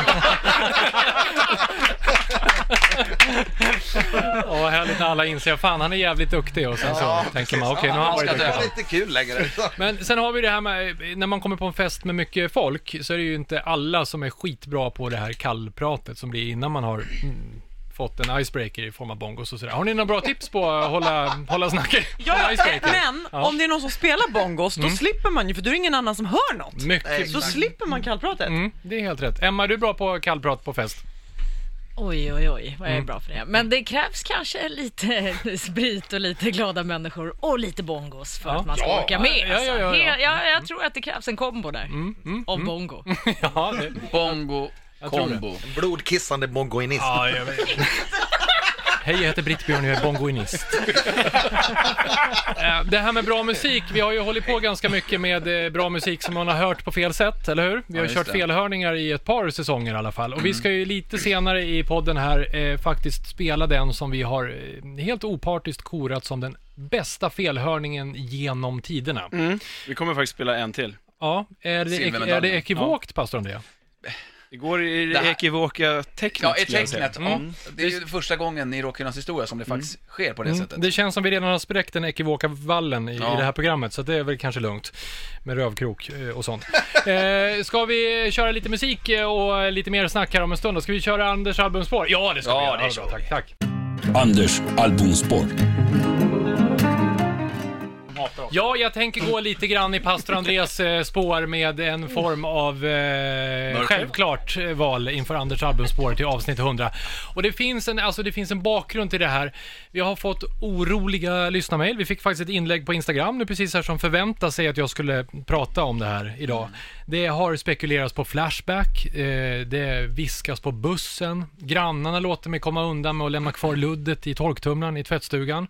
[SPEAKER 2] vad härligt när alla inser, fan han är jävligt duktig och sen så tänker man, okej nu har han varit
[SPEAKER 4] ska
[SPEAKER 2] duktig.
[SPEAKER 6] Det var lite kul längre.
[SPEAKER 2] Men sen har vi det här med, när man kommer på en fest med mycket folk så är det ju inte alla som är skitbra på det här kallpratet som blir innan man har mm, fått en icebreaker i form av bongos och sådär. Har ni några bra tips på att hålla, hålla snacket?
[SPEAKER 5] Ja,
[SPEAKER 2] Hålla
[SPEAKER 5] ja,
[SPEAKER 2] icebreaker?
[SPEAKER 5] men
[SPEAKER 2] Ja.
[SPEAKER 5] om det är någon som spelar bongos, då slipper man ju, för då är det ingen annan som hör något.
[SPEAKER 2] Mm. Mycket.
[SPEAKER 5] Då slipper man kallpratet.
[SPEAKER 2] Mm, det är helt rätt. Emma, är du bra på kallprat på fest?
[SPEAKER 9] Oj, oj, oj, vad jag är
[SPEAKER 2] Mm.
[SPEAKER 9] bra för det. Men det krävs kanske lite sprit och lite glada människor och lite bongos för
[SPEAKER 2] Ja.
[SPEAKER 9] att man ska
[SPEAKER 6] Ja.
[SPEAKER 9] orka med.
[SPEAKER 2] Ja, ja, Mm. ja,
[SPEAKER 9] alltså.
[SPEAKER 2] ja.
[SPEAKER 9] He- ja, jag tror att det krävs en kombo där, av
[SPEAKER 7] Mm.
[SPEAKER 9] bongo.
[SPEAKER 2] Ja, det,
[SPEAKER 4] Bongo,
[SPEAKER 2] tror det.
[SPEAKER 4] kombo.
[SPEAKER 6] Blodkissande mongoinist.
[SPEAKER 2] ja jag vet. Hej, jag heter Britt-Björn och jag är bongoinist. Eh, det här med bra musik, vi har ju hållit på ganska mycket med eh, bra musik som man har hört på fel sätt, eller hur? Vi har
[SPEAKER 4] Ja, just
[SPEAKER 2] kört
[SPEAKER 4] det. Mm.
[SPEAKER 2] felhörningar i ett par säsonger i alla fall. Och vi ska ju lite senare i podden här eh, faktiskt spela den som vi har eh, helt opartiskt korat som den bästa felhörningen genom tiderna.
[SPEAKER 4] Mm.
[SPEAKER 3] Mm. Vi kommer faktiskt spela en till.
[SPEAKER 2] Ja, är det, ek- är det
[SPEAKER 4] Silvermedaljen.
[SPEAKER 2] ekivokt, pastor Andrea?
[SPEAKER 3] Igår i
[SPEAKER 4] Det
[SPEAKER 3] det
[SPEAKER 4] här-
[SPEAKER 3] ekivoka tecknet.
[SPEAKER 4] Ja, i
[SPEAKER 3] skulle jag säga. Mm.
[SPEAKER 4] tecknet. Ja, det är ju första gången i rockhyllans historia som det faktiskt sker på det
[SPEAKER 2] Mm,
[SPEAKER 4] sättet.
[SPEAKER 2] Det känns som vi redan har spräckt den ekivoka vallen i, i det här programmet, så att det är väl kanske lugnt med rövkrok eh, och sånt. eh, ska vi köra lite musik eh, och lite mer snack här om en stund? Då? Ska vi köra Anders albumspår? Ja, det ska vi
[SPEAKER 4] Ja,
[SPEAKER 2] göra.
[SPEAKER 4] det
[SPEAKER 2] Ja,
[SPEAKER 4] kör
[SPEAKER 2] bra,
[SPEAKER 4] vi.
[SPEAKER 2] Tack, tack.
[SPEAKER 1] Anders albumspår.
[SPEAKER 2] Ja, jag tänker gå lite grann i pastor Andres eh, spår med en form av eh, självklart eh, val inför Anders albumspår till avsnitt 100. Och det finns, en, alltså, det finns en bakgrund till det här. Vi har fått oroliga lyssnarmail. Vi fick faktiskt ett inlägg på Instagram nu precis här som förväntade sig att jag skulle prata om det här idag. Det har spekulerats på Flashback, eh, det viskas på bussen, grannarna låter mig komma undan med att lämna kvar luddet i torktumlaren i tvättstugan.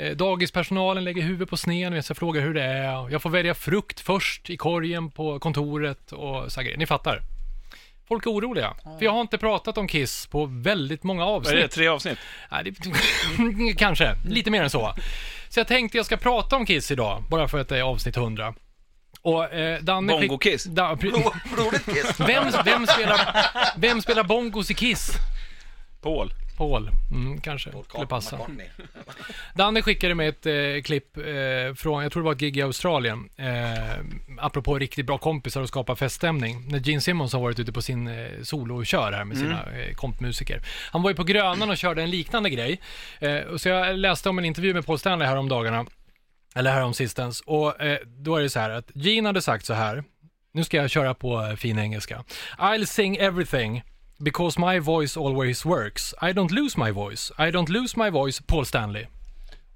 [SPEAKER 2] Eh, Dagispersonalen lägger huvudet på sned medan jag frågar hur det är. Jag får välja frukt först i korgen på kontoret och så här grejer. Ni fattar. Folk är oroliga. För jag har inte pratat om Kiss på väldigt många
[SPEAKER 3] Vad är det?
[SPEAKER 2] avsnitt.
[SPEAKER 3] Tre avsnitt?
[SPEAKER 2] Nej, det... Kanske, lite mer än så. Så jag tänkte jag ska prata om Kiss idag, bara för att det är avsnitt 100. Och eh, Danne... skick-
[SPEAKER 3] Bongo-Kiss?
[SPEAKER 2] Da... pre-
[SPEAKER 6] Blod- Blodigt kiss.
[SPEAKER 2] Vem, vem, spelar, vem spelar bongos i Kiss?
[SPEAKER 3] Paul.
[SPEAKER 2] Paul, mm, kanske. Skulle passa.
[SPEAKER 6] McCartney.
[SPEAKER 2] Danne skickade mig ett eh, klipp eh, från, jag tror det var ett gig i Australien, eh, apropå riktigt bra kompisar och skapa feststämning, när Gene Simmons har varit ute på sin eh, solokör här med sina eh, kompmusiker. Han var ju på Grönan och körde en liknande grej, eh, och så jag läste om en intervju med Paul Stanley här om dagarna eller här om sistens, och eh, då är det så här att Gene hade sagt så här, nu ska jag köra på eh, fin engelska. I'll sing everything because my voice always works. I don't lose my voice. I don't lose my voice, Paul Stanley.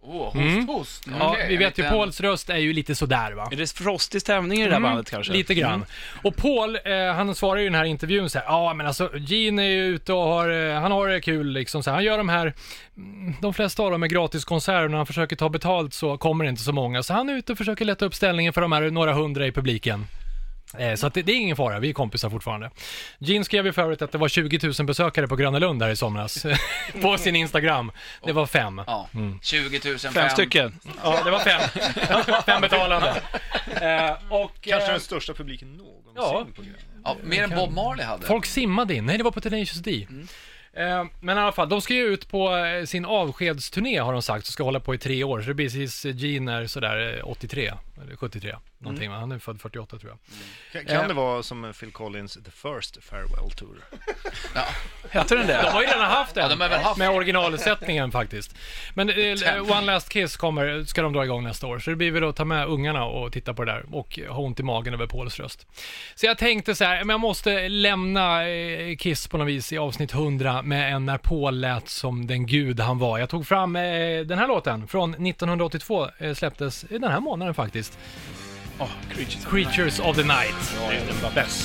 [SPEAKER 4] Åh, host, host.
[SPEAKER 2] Mm. Ja,
[SPEAKER 4] Okej,
[SPEAKER 2] vi
[SPEAKER 4] en
[SPEAKER 2] vet ju
[SPEAKER 4] liten-
[SPEAKER 2] Pauls röst är ju lite sådär va. Mm,
[SPEAKER 3] Är det frostig stämning i det där bandet kanske? Mm.
[SPEAKER 2] Lite grann. Och Paul, eh, han svarar ju i den här intervjun så här, ja men alltså Gene är ju ute och har, eh, han har det kul liksom så här. Han gör de här, mm, de flesta av dem är gratiskonserter och när han försöker ta betalt så kommer det inte så många. Så han är ute och försöker lätta upp ställningen för de här några hundra i publiken. Eh, Så att det, det är ingen fara, vi är kompisar fortfarande. Gene skrev ju förut att det var 20 000 besökare på Gröna Lund här i somras, på sin Instagram. Det var fem. Mm.
[SPEAKER 4] Ja, 20 000
[SPEAKER 3] Fem stycken?
[SPEAKER 2] Ja, det var fem. fem betalande. Eh, och,
[SPEAKER 7] Kanske
[SPEAKER 2] eh,
[SPEAKER 7] den största publiken någonsin
[SPEAKER 2] Ja.
[SPEAKER 7] på Grönan.
[SPEAKER 4] Ja, mer än Bob Marley hade. Mm.
[SPEAKER 2] Folk simmade in. Nej, det var på Tenacious D. Eh, Men i alla fall, de ska ju ut på eh, sin avskedsturné har de sagt, och ska hålla på i tre år. Så det blir precis, eh, Gene är sådär eh, 83, eller 73, någonting
[SPEAKER 4] Mm.
[SPEAKER 2] va? Han är född 48 tror jag.
[SPEAKER 7] Kan, kan det vara som Phil Collins The First Farewell Tour?
[SPEAKER 4] Hette den
[SPEAKER 2] De
[SPEAKER 4] det?
[SPEAKER 2] har ju redan haft en,
[SPEAKER 4] de har väl haft
[SPEAKER 2] med originalsättningen faktiskt. Men eh,
[SPEAKER 4] Temp.
[SPEAKER 2] One Last Kiss kommer, ska de dra igång nästa år, så det blir väl att ta med ungarna och titta på det där och ha ont i magen över Pauls röst. Så jag tänkte så här, men jag måste lämna eh, Kiss på något vis i avsnitt 100 med en när Paul lät som den gud han var. Jag tog fram eh, den här låten från 1982, eh, släpptes i den här månaden faktiskt.
[SPEAKER 4] Ah,
[SPEAKER 2] Creatures of the Night.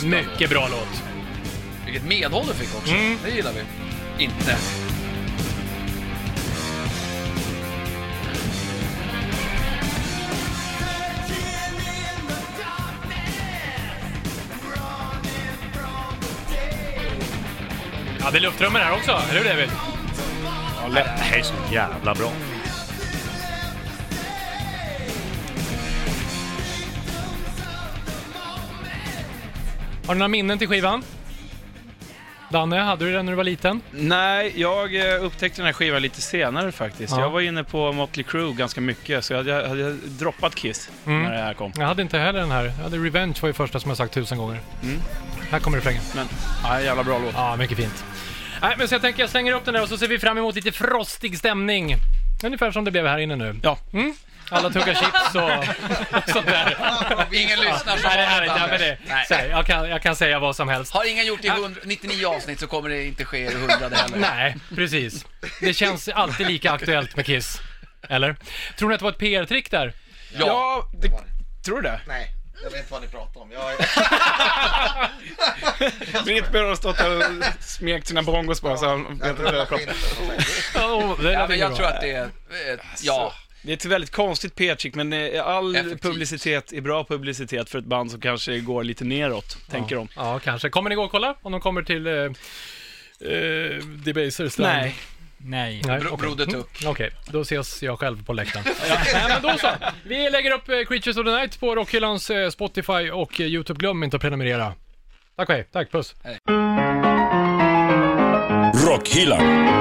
[SPEAKER 2] Mycket bra låt. Mm.
[SPEAKER 4] Vilket medhåll du fick också. Det gillar vi. Inte.
[SPEAKER 2] Ja, det är luftrummen här också, eller hur David?
[SPEAKER 7] Ja, lätt. Det här är så jävla bra.
[SPEAKER 2] Har du några minnen till skivan? Danne, hade du den när du var liten?
[SPEAKER 3] Nej, jag eh, upptäckte den här skivan lite senare faktiskt.
[SPEAKER 2] Ja.
[SPEAKER 3] Jag var inne på Motley Crue ganska mycket, så jag hade, hade droppat Kiss
[SPEAKER 2] Mm.
[SPEAKER 3] när det här kom.
[SPEAKER 2] Jag hade inte heller den här. Jag hade Revenge var ju första som jag sagt tusen gånger. Här kommer refrängen.
[SPEAKER 3] Mm. Men, ja, jävla bra låt.
[SPEAKER 2] Ja, mycket fint. Nej, men så jag tänker jag slänger upp den där och så ser vi fram emot lite frostig stämning. Ungefär som det blev här inne nu.
[SPEAKER 3] Ja.
[SPEAKER 2] Mm? Alla tuggar chips och, och sånt där.
[SPEAKER 4] Ingen lyssnar som
[SPEAKER 2] Nej, det är härligt.
[SPEAKER 4] vanligt,
[SPEAKER 2] Ja, men det,
[SPEAKER 4] Anders. Nej.
[SPEAKER 2] så här, jag, kan, jag kan säga vad som helst.
[SPEAKER 4] Har ingen gjort det i 100, 99 avsnitt så kommer det inte ske i 100 heller.
[SPEAKER 2] Nej, precis. Det känns alltid lika aktuellt med Kiss. Eller? Tror ni att det var ett PR-trick där?
[SPEAKER 3] Ja, det, tror du det?
[SPEAKER 6] Nej, jag vet inte vad ni pratar om. Jag,
[SPEAKER 3] Britt Björn har stått där och smekt sina bongos bara så han vet inte vad jag pratar om. Alltså,
[SPEAKER 2] Oh, det,
[SPEAKER 4] Ja,
[SPEAKER 2] det
[SPEAKER 4] men
[SPEAKER 2] är
[SPEAKER 4] jag
[SPEAKER 2] bra.
[SPEAKER 4] tror att det är... eh, Ja.
[SPEAKER 3] Det är ett väldigt konstigt PR-trick, men eh, all
[SPEAKER 4] Effektivt.
[SPEAKER 3] publicitet är bra publicitet för ett band som kanske går lite neråt, tänker de.
[SPEAKER 2] Ja, kanske. Kommer ni gå och kolla om de kommer till eh, eh, Debaser strand?
[SPEAKER 3] Nej,
[SPEAKER 8] Nej.
[SPEAKER 2] Nej,
[SPEAKER 4] Bro-
[SPEAKER 2] okej.
[SPEAKER 4] Broder Tuck.
[SPEAKER 2] Mm, Okej, då ses jag själv på läktaren. ja. Nej, men då så. Vi lägger upp eh, Creatures of the Night på Rockhyllans eh, Spotify och eh, YouTube. Glöm inte att prenumerera. Tack och hej. Tack, puss.
[SPEAKER 1] Rockhyllan.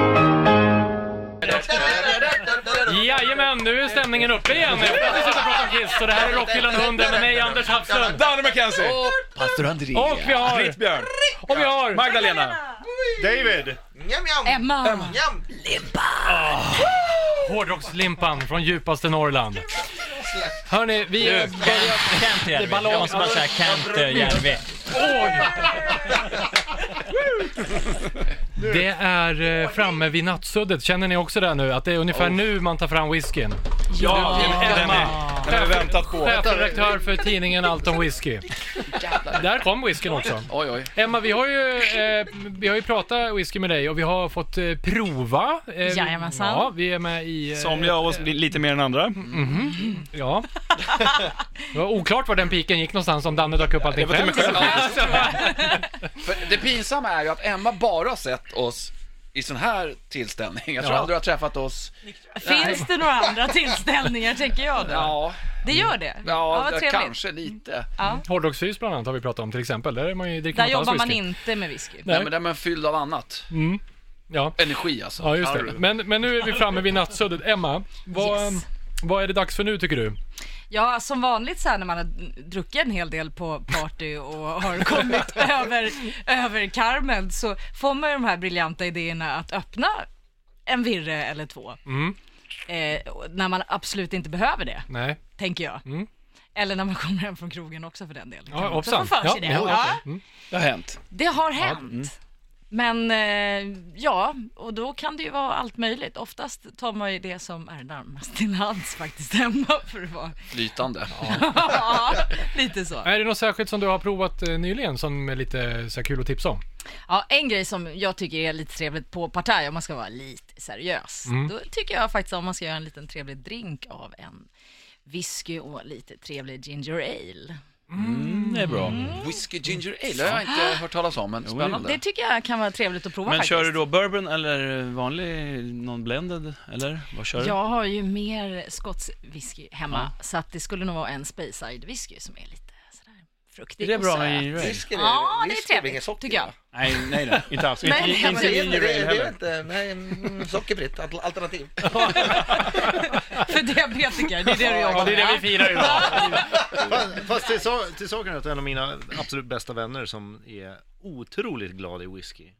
[SPEAKER 2] Jajamän, nu är stämningen uppe igen. Jag får inte sluta prata om Kiss. Så det här är Rockhyllan 100 med mig, Anders Hafslund.
[SPEAKER 3] Danne McKenzie!
[SPEAKER 4] Pastor André.
[SPEAKER 2] Och vi har...
[SPEAKER 3] Britt Björn!
[SPEAKER 2] Och vi har...
[SPEAKER 3] Magdalena!
[SPEAKER 7] David!
[SPEAKER 6] Njam, njam,
[SPEAKER 9] Emma.
[SPEAKER 6] njam.
[SPEAKER 2] Hårdrockslimpan från djupaste Norrland. Hörni, vi...
[SPEAKER 8] Du, Kent, Kent Järvi. Jag måste bara säga Kent eh, Järvi.
[SPEAKER 2] Oj! Det är eh, framme vid nattsuddet. Känner ni också det nu? Att det är ungefär nu man tar fram whiskyn.
[SPEAKER 3] Ja, den är-
[SPEAKER 2] Emma,
[SPEAKER 3] den har vi väntat på.
[SPEAKER 2] chefredaktör för tidningen Allt om whisky. Där kom whiskyn också.
[SPEAKER 4] Oj, oj.
[SPEAKER 2] Emma, vi har ju, eh, vi har ju pratat whisky med dig och vi har fått eh, prova. Eh, vi-
[SPEAKER 9] Jajamensan.
[SPEAKER 2] Ja, vi är med i... Eh, Mm-hmm.
[SPEAKER 3] Somliga av oss blir lite mer än andra.
[SPEAKER 2] Mm. Ja. Det var oklart var den piken gick någonstans om Danne dök upp allting
[SPEAKER 3] var till mig själv.
[SPEAKER 4] För det pinsamma är ju att Emma bara har sett oss i sån här tillställning. Jag tror
[SPEAKER 2] Ja.
[SPEAKER 4] aldrig du har träffat oss.
[SPEAKER 9] Finns det några andra tillställningar tänker jag då?
[SPEAKER 4] Ja,
[SPEAKER 9] Det gör det?
[SPEAKER 4] ja,
[SPEAKER 9] vad
[SPEAKER 4] det-
[SPEAKER 9] trevligt.
[SPEAKER 4] kanske lite.
[SPEAKER 2] Hårdrocksfys bland annat har vi pratat om till exempel. Där, är man ju, dricker
[SPEAKER 9] Där
[SPEAKER 2] Mm. något
[SPEAKER 9] jobbar man
[SPEAKER 2] annat whisky.
[SPEAKER 9] inte med whisky.
[SPEAKER 4] Nej, men den är fylld av annat.
[SPEAKER 2] Mm. Ja.
[SPEAKER 4] Energi alltså.
[SPEAKER 2] Ja, just det. Men, men nu är vi framme vid nattsuddet. Emma, vad,
[SPEAKER 9] Yes.
[SPEAKER 2] vad är det dags för nu tycker du?
[SPEAKER 9] Ja, som vanligt så här när man har druckit en hel del på party och har kommit över, över karmen så får man ju de här briljanta idéerna att öppna en virre eller två.
[SPEAKER 2] Mm.
[SPEAKER 9] Eh, och när man absolut inte behöver det,
[SPEAKER 2] Nej. Mm.
[SPEAKER 9] tänker jag. Eller när man kommer hem från krogen också för den delen.
[SPEAKER 2] Ja,
[SPEAKER 9] Kan man också
[SPEAKER 2] hoppsan.
[SPEAKER 9] få för sig
[SPEAKER 2] Ja,
[SPEAKER 9] det.
[SPEAKER 2] ja, okej. Mm.
[SPEAKER 3] Det har hänt. mm.
[SPEAKER 9] Det har hänt. Men eh, ja, och då kan det ju vara allt möjligt. Oftast tar man ju det som är närmast till hands faktiskt hemma för att vara...
[SPEAKER 4] Flytande.
[SPEAKER 9] Ja, lite så.
[SPEAKER 2] Är det något särskilt som du har provat eh, nyligen som är lite så här, kul att tipsa om?
[SPEAKER 9] Ja, en grej som jag tycker är lite trevligt på partaj, om man ska vara lite seriös,
[SPEAKER 3] Mm.
[SPEAKER 9] då tycker jag faktiskt om man ska göra en liten trevlig drink av en whisky och lite trevlig ginger ale.
[SPEAKER 2] Mm,
[SPEAKER 3] Det är bra.
[SPEAKER 4] Whisky Mm. ginger ale har jag inte hört talas om, men spännande.
[SPEAKER 9] Det tycker jag kan vara trevligt att prova
[SPEAKER 3] Men
[SPEAKER 9] faktiskt.
[SPEAKER 3] kör du då bourbon eller vanlig, någon blended, eller? Vad kör du?
[SPEAKER 9] Jag har ju mer skotsk whisky hemma, så att det skulle nog vara en Speyside whisky som är lite sådär
[SPEAKER 10] frukt.
[SPEAKER 3] Är det bra med
[SPEAKER 10] söt.
[SPEAKER 3] ginger ale?
[SPEAKER 6] Whisky är,
[SPEAKER 10] Ja, det är
[SPEAKER 6] whisky
[SPEAKER 10] trevligt,
[SPEAKER 6] inget socker
[SPEAKER 9] tycker jag.
[SPEAKER 6] va?
[SPEAKER 3] Nej, nej, nej. Inte
[SPEAKER 2] Alltså,
[SPEAKER 3] alls.
[SPEAKER 10] Nej,
[SPEAKER 3] inte
[SPEAKER 10] men
[SPEAKER 3] inte
[SPEAKER 10] det-
[SPEAKER 3] ginger
[SPEAKER 6] det,
[SPEAKER 3] ale
[SPEAKER 6] det är
[SPEAKER 3] heller.
[SPEAKER 6] inte, nej, mm, sockerfritt al- alternativ.
[SPEAKER 9] För diabetiker, det är det du jobbar
[SPEAKER 3] Ja, det är det
[SPEAKER 9] med.
[SPEAKER 3] vi firar idag.
[SPEAKER 7] Fast- Fast till, sa- till saken är att en av mina absolut bästa vänner som är otroligt glad i whisky, eh,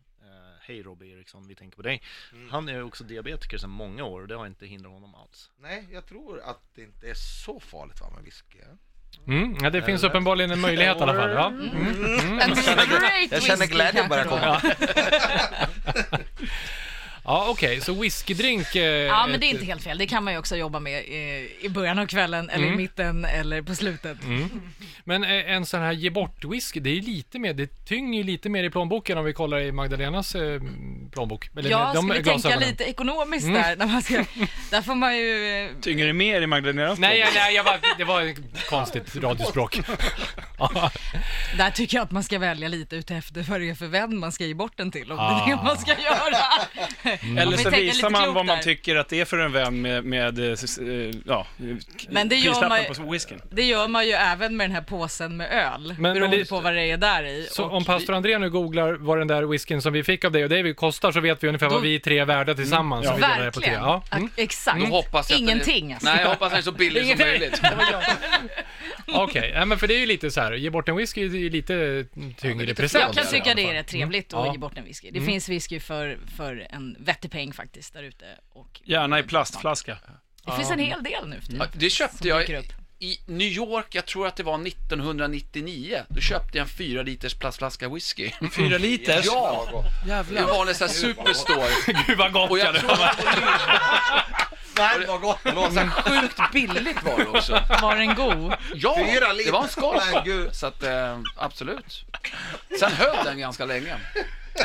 [SPEAKER 7] hej Robbie Eriksson, vi tänker på dig.
[SPEAKER 2] Mm.
[SPEAKER 7] Han är också diabetiker sedan många år och det har inte hindrat honom alls.
[SPEAKER 6] Nej, jag tror att det inte är så farligt va med whisky. ja.
[SPEAKER 2] Mm, ja, det finns uppenbarligen en möjlighet i alla fall. Ja. Mm.
[SPEAKER 9] En great
[SPEAKER 6] Jag känner
[SPEAKER 9] whisky
[SPEAKER 6] glädjen
[SPEAKER 9] kanske
[SPEAKER 6] börjar
[SPEAKER 9] då.
[SPEAKER 6] komma.
[SPEAKER 2] Ja, okej, så whiskydrink... Eh,
[SPEAKER 9] Ja, men det är inte helt fel. Det kan man ju också jobba med eh, i början av kvällen, eller i mitten, eller på slutet.
[SPEAKER 2] Mm. Men eh, en sån här ge bort-whisky, det är ju lite mer, det tynger ju lite mer i plånboken om vi kollar i Magdalenas eh, plånbok. Eller
[SPEAKER 9] Jag
[SPEAKER 2] de
[SPEAKER 9] skulle tänka
[SPEAKER 2] glasögonen.
[SPEAKER 9] lite ekonomiskt där, när man ska, där får man ju... eh,
[SPEAKER 3] Tynger det mer i Magdalenas
[SPEAKER 2] Nej, nej, nej jag bara, det var konstigt radiospråk. Ja.
[SPEAKER 9] Där tycker jag att man ska välja lite utefter vad det är för vän man ska ge bort den till, om det är det man ska göra. Om
[SPEAKER 2] Mm.
[SPEAKER 3] Eller
[SPEAKER 9] vi
[SPEAKER 3] så
[SPEAKER 9] tänker
[SPEAKER 3] visar
[SPEAKER 9] lite
[SPEAKER 3] man
[SPEAKER 9] klokt
[SPEAKER 3] vad man
[SPEAKER 9] där.
[SPEAKER 3] tycker att det är för en vän med, med eh, s- eh, ja,
[SPEAKER 9] Men det gör
[SPEAKER 3] prislappen
[SPEAKER 9] man ju-
[SPEAKER 3] på whiskyn.
[SPEAKER 9] Det gör man ju även med den här påsen med öl,
[SPEAKER 2] men
[SPEAKER 9] beroende
[SPEAKER 2] det-
[SPEAKER 9] på vad det är där i.
[SPEAKER 2] Så
[SPEAKER 9] Och
[SPEAKER 2] om pastor André nu googlar vad den där whiskyn som vi fick av dig och David kostar så vet vi ungefär vad
[SPEAKER 9] Då-
[SPEAKER 2] vi tre är värda tillsammans.
[SPEAKER 3] Ja.
[SPEAKER 2] om vi delar det på tre.
[SPEAKER 9] Verkligen.
[SPEAKER 2] Ja. Mm.
[SPEAKER 9] Att- Exakt.
[SPEAKER 4] Då hoppas jag att den är-
[SPEAKER 9] Ingenting alltså.
[SPEAKER 4] Nej, jag hoppas den är så billig som möjligt.
[SPEAKER 2] Mm, Okej, ja, men för det är ju lite så här, ge bort en whisky är ju lite tyngre
[SPEAKER 9] Jag
[SPEAKER 2] present.
[SPEAKER 9] kan
[SPEAKER 2] i
[SPEAKER 9] tycka
[SPEAKER 2] alla
[SPEAKER 9] det är
[SPEAKER 2] fall.
[SPEAKER 9] rätt trevligt
[SPEAKER 4] Mm.
[SPEAKER 9] att
[SPEAKER 2] Ja.
[SPEAKER 9] ge bort en whisky. Det finns whisky för, för en vettig peng faktiskt där ute. Och
[SPEAKER 3] Gärna i plastflaska.
[SPEAKER 9] Det finns en hel del nu för tiden.
[SPEAKER 4] Ja, det köpte
[SPEAKER 9] Som
[SPEAKER 4] jag
[SPEAKER 9] dyker
[SPEAKER 4] i,
[SPEAKER 9] upp.
[SPEAKER 4] i New York, jag tror att det var 1999. Då köpte jag en 4 liters plastflaska whisky.
[SPEAKER 3] Fyra liter?
[SPEAKER 4] Ja, det var en sån här superstore.
[SPEAKER 2] Gud vad gott
[SPEAKER 4] Och
[SPEAKER 2] jag
[SPEAKER 4] jag tror att
[SPEAKER 6] Nej, vad gott det låter.
[SPEAKER 4] sjukt billigt var det också.
[SPEAKER 9] Var den god?
[SPEAKER 4] Ja,
[SPEAKER 6] Fyra liter.
[SPEAKER 4] det var en
[SPEAKER 6] Nej,
[SPEAKER 4] skål.
[SPEAKER 6] gud.
[SPEAKER 4] Så att, eh, absolut. Sen höll den ganska länge.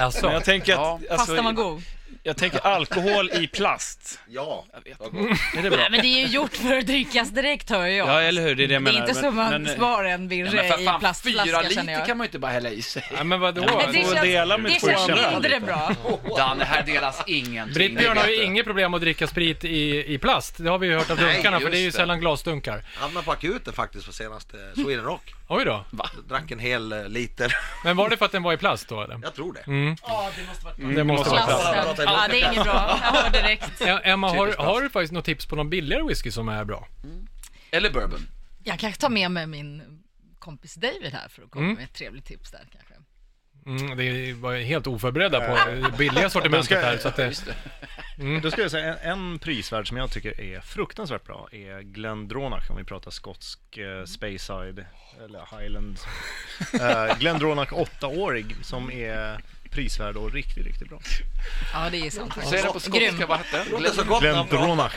[SPEAKER 2] alltså.
[SPEAKER 3] Men jag tänker
[SPEAKER 4] Ja.
[SPEAKER 3] att... alltså,
[SPEAKER 9] Pastan var god.
[SPEAKER 3] jag tänker alkohol i plast.
[SPEAKER 6] Ja, vad gott.
[SPEAKER 3] Är det bra?
[SPEAKER 9] Nej, men det är ju gjort för att drickas direkt hör jag.
[SPEAKER 3] Ja, eller hur? Det är det jag
[SPEAKER 9] det är
[SPEAKER 3] menar.
[SPEAKER 9] inte som
[SPEAKER 3] men,
[SPEAKER 9] man
[SPEAKER 3] men,
[SPEAKER 9] svarar en
[SPEAKER 4] Ja,
[SPEAKER 9] virre
[SPEAKER 4] men för
[SPEAKER 9] i
[SPEAKER 4] fan, fyra
[SPEAKER 9] plastflaska känner
[SPEAKER 4] liter
[SPEAKER 9] jag.
[SPEAKER 4] kan man ju inte bara hälla i sig.
[SPEAKER 2] Ja, men vadå?
[SPEAKER 3] Ja,
[SPEAKER 9] Nej, det
[SPEAKER 3] Får
[SPEAKER 9] känns-
[SPEAKER 3] dela med
[SPEAKER 9] Det
[SPEAKER 3] två
[SPEAKER 9] känns
[SPEAKER 3] andra.
[SPEAKER 9] mindre bra.
[SPEAKER 4] Danne, här delas ingenting.
[SPEAKER 2] Britt-Björn har
[SPEAKER 4] det
[SPEAKER 2] ju
[SPEAKER 4] vet du.
[SPEAKER 2] inget problem att dricka sprit i, i plast. Det har vi ju hört av
[SPEAKER 6] Nej,
[SPEAKER 2] dunkarna, för
[SPEAKER 4] just
[SPEAKER 2] det är ju
[SPEAKER 4] det.
[SPEAKER 2] sällan glasdunkar.
[SPEAKER 6] Hamnade på akuten faktiskt på senaste Sweden Rock.
[SPEAKER 2] Oj då.
[SPEAKER 6] Jag drack en hel eh, liter.
[SPEAKER 2] Men var det för att den var i plast då eller? Mm.
[SPEAKER 6] Jag tror det.
[SPEAKER 2] det måste vara plast.
[SPEAKER 6] Alla pratar
[SPEAKER 9] Plasten.
[SPEAKER 6] emot
[SPEAKER 9] Ja, det är inget bra. Jag hör direkt.
[SPEAKER 2] Ja, Emma, har, har du faktiskt något tips på någon billigare whisky som är bra?
[SPEAKER 4] Eller bourbon.
[SPEAKER 9] Jag kanske tar med mig min kompis David här för att
[SPEAKER 3] Mm.
[SPEAKER 9] komma med ett trevligt tips där kanske.
[SPEAKER 2] Mm, det var ju helt oförberedda på det billiga sortimentet här. Så att det, Mm.
[SPEAKER 7] Då skulle jag säga en, en prisvärd som jag tycker är fruktansvärt bra är Glendronach om vi pratar skotsk eh, Speyside eller Highland. Eh, Glendronach åttaårig som är prisvärd och riktigt, riktigt bra.
[SPEAKER 9] Ja, det är sant.
[SPEAKER 4] Säg det på skotska,
[SPEAKER 9] Grym.
[SPEAKER 4] vad hette
[SPEAKER 6] Det låter
[SPEAKER 4] den?
[SPEAKER 6] så gott. när man pratar.
[SPEAKER 7] Glendronach.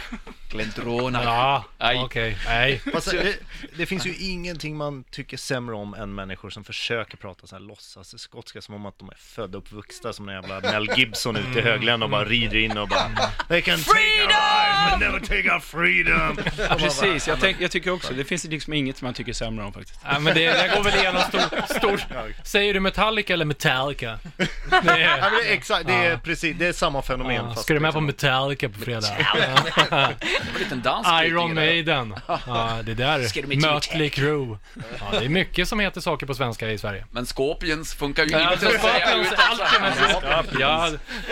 [SPEAKER 4] Glendrona.
[SPEAKER 2] ja,
[SPEAKER 4] Nej.
[SPEAKER 2] okej. Nej.
[SPEAKER 7] Fast det, det finns ju ingenting man tycker sämre om än människor som försöker prata så här låtsas skotska som om att de är födda och uppvuxna som en jävla Mel Gibson ute i högländerna och bara rider in och bara They can take our lives but never take our freedom! Och man bara,
[SPEAKER 3] Precis, jag, tänk, jag tycker också. Det finns liksom inget man tycker sämre om faktiskt.
[SPEAKER 2] Ja, men det, det går väl igenom stor, stor... Säger du Metallica eller Metallica? Det
[SPEAKER 7] Ja,
[SPEAKER 2] är,
[SPEAKER 7] men det är exakt, det är precis, det är samma fenomen
[SPEAKER 2] ja,
[SPEAKER 7] fast
[SPEAKER 2] ska du med på
[SPEAKER 7] liksom-
[SPEAKER 2] Metallica på fredag?
[SPEAKER 4] Det var en liten dansk
[SPEAKER 2] Iron
[SPEAKER 4] liten grej där.
[SPEAKER 2] Maiden. Ja, det
[SPEAKER 4] du
[SPEAKER 2] där.
[SPEAKER 4] med till
[SPEAKER 2] Mötley Crüe. Ja, det är mycket som heter saker på svenska i Sverige.
[SPEAKER 4] Men Scorpions funkar ju
[SPEAKER 2] Ja,
[SPEAKER 4] inte att säga
[SPEAKER 2] Scorpions,
[SPEAKER 4] utan
[SPEAKER 2] alltid med Scorpions. Ja,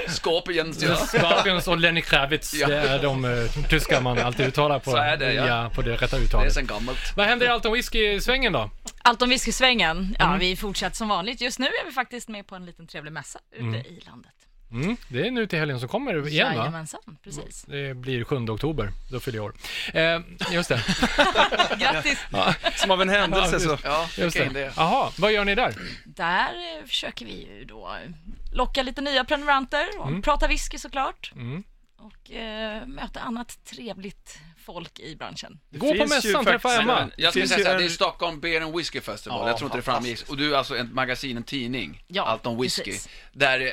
[SPEAKER 4] Scorpions, ja.
[SPEAKER 2] Scorpions och Lenny Kravitz,
[SPEAKER 4] Ja.
[SPEAKER 2] det är de uh, tyska man alltid uttalar på.
[SPEAKER 4] Så är det, ja.
[SPEAKER 2] på det rätta
[SPEAKER 4] Det är
[SPEAKER 2] uttalet.
[SPEAKER 4] sen gammalt.
[SPEAKER 2] Vad händer i Alton Whisky-svängen då?
[SPEAKER 9] Allt om whiskysvängen.
[SPEAKER 4] Mm.
[SPEAKER 9] Ja, vi fortsätter som vanligt. Just nu är vi faktiskt med på en liten trevlig mässa ute i landet.
[SPEAKER 2] Mm, det är nu till helgen som kommer igen va?
[SPEAKER 9] Jajamensan, precis.
[SPEAKER 2] Det blir 7 oktober, då fyller jag år. Eh, just det.
[SPEAKER 9] Grattis!
[SPEAKER 3] Som av en händelse så...
[SPEAKER 4] Ja,
[SPEAKER 2] Just
[SPEAKER 4] skicka in
[SPEAKER 2] det.
[SPEAKER 4] det.
[SPEAKER 2] Jaha, vad gör ni där?
[SPEAKER 9] Där eh, försöker vi ju då locka lite nya prenumeranter och
[SPEAKER 3] Mm.
[SPEAKER 9] prata whisky såklart.
[SPEAKER 2] Mm.
[SPEAKER 9] Och eh, möta annat trevligt folk i branschen.
[SPEAKER 2] Gå på
[SPEAKER 3] finns ju
[SPEAKER 2] mässan, träffa
[SPEAKER 3] faktiskt-
[SPEAKER 2] Emma.
[SPEAKER 4] Jag skulle
[SPEAKER 3] Finns ju
[SPEAKER 4] säga såhär,
[SPEAKER 3] en-
[SPEAKER 4] det är Stockholm Beer and Whiskey Festival, jag tror inte det framgick. Och du är alltså ett magasin, en tidning,
[SPEAKER 9] Ja,
[SPEAKER 4] allt om whisky.
[SPEAKER 9] precis.
[SPEAKER 4] Där, eh,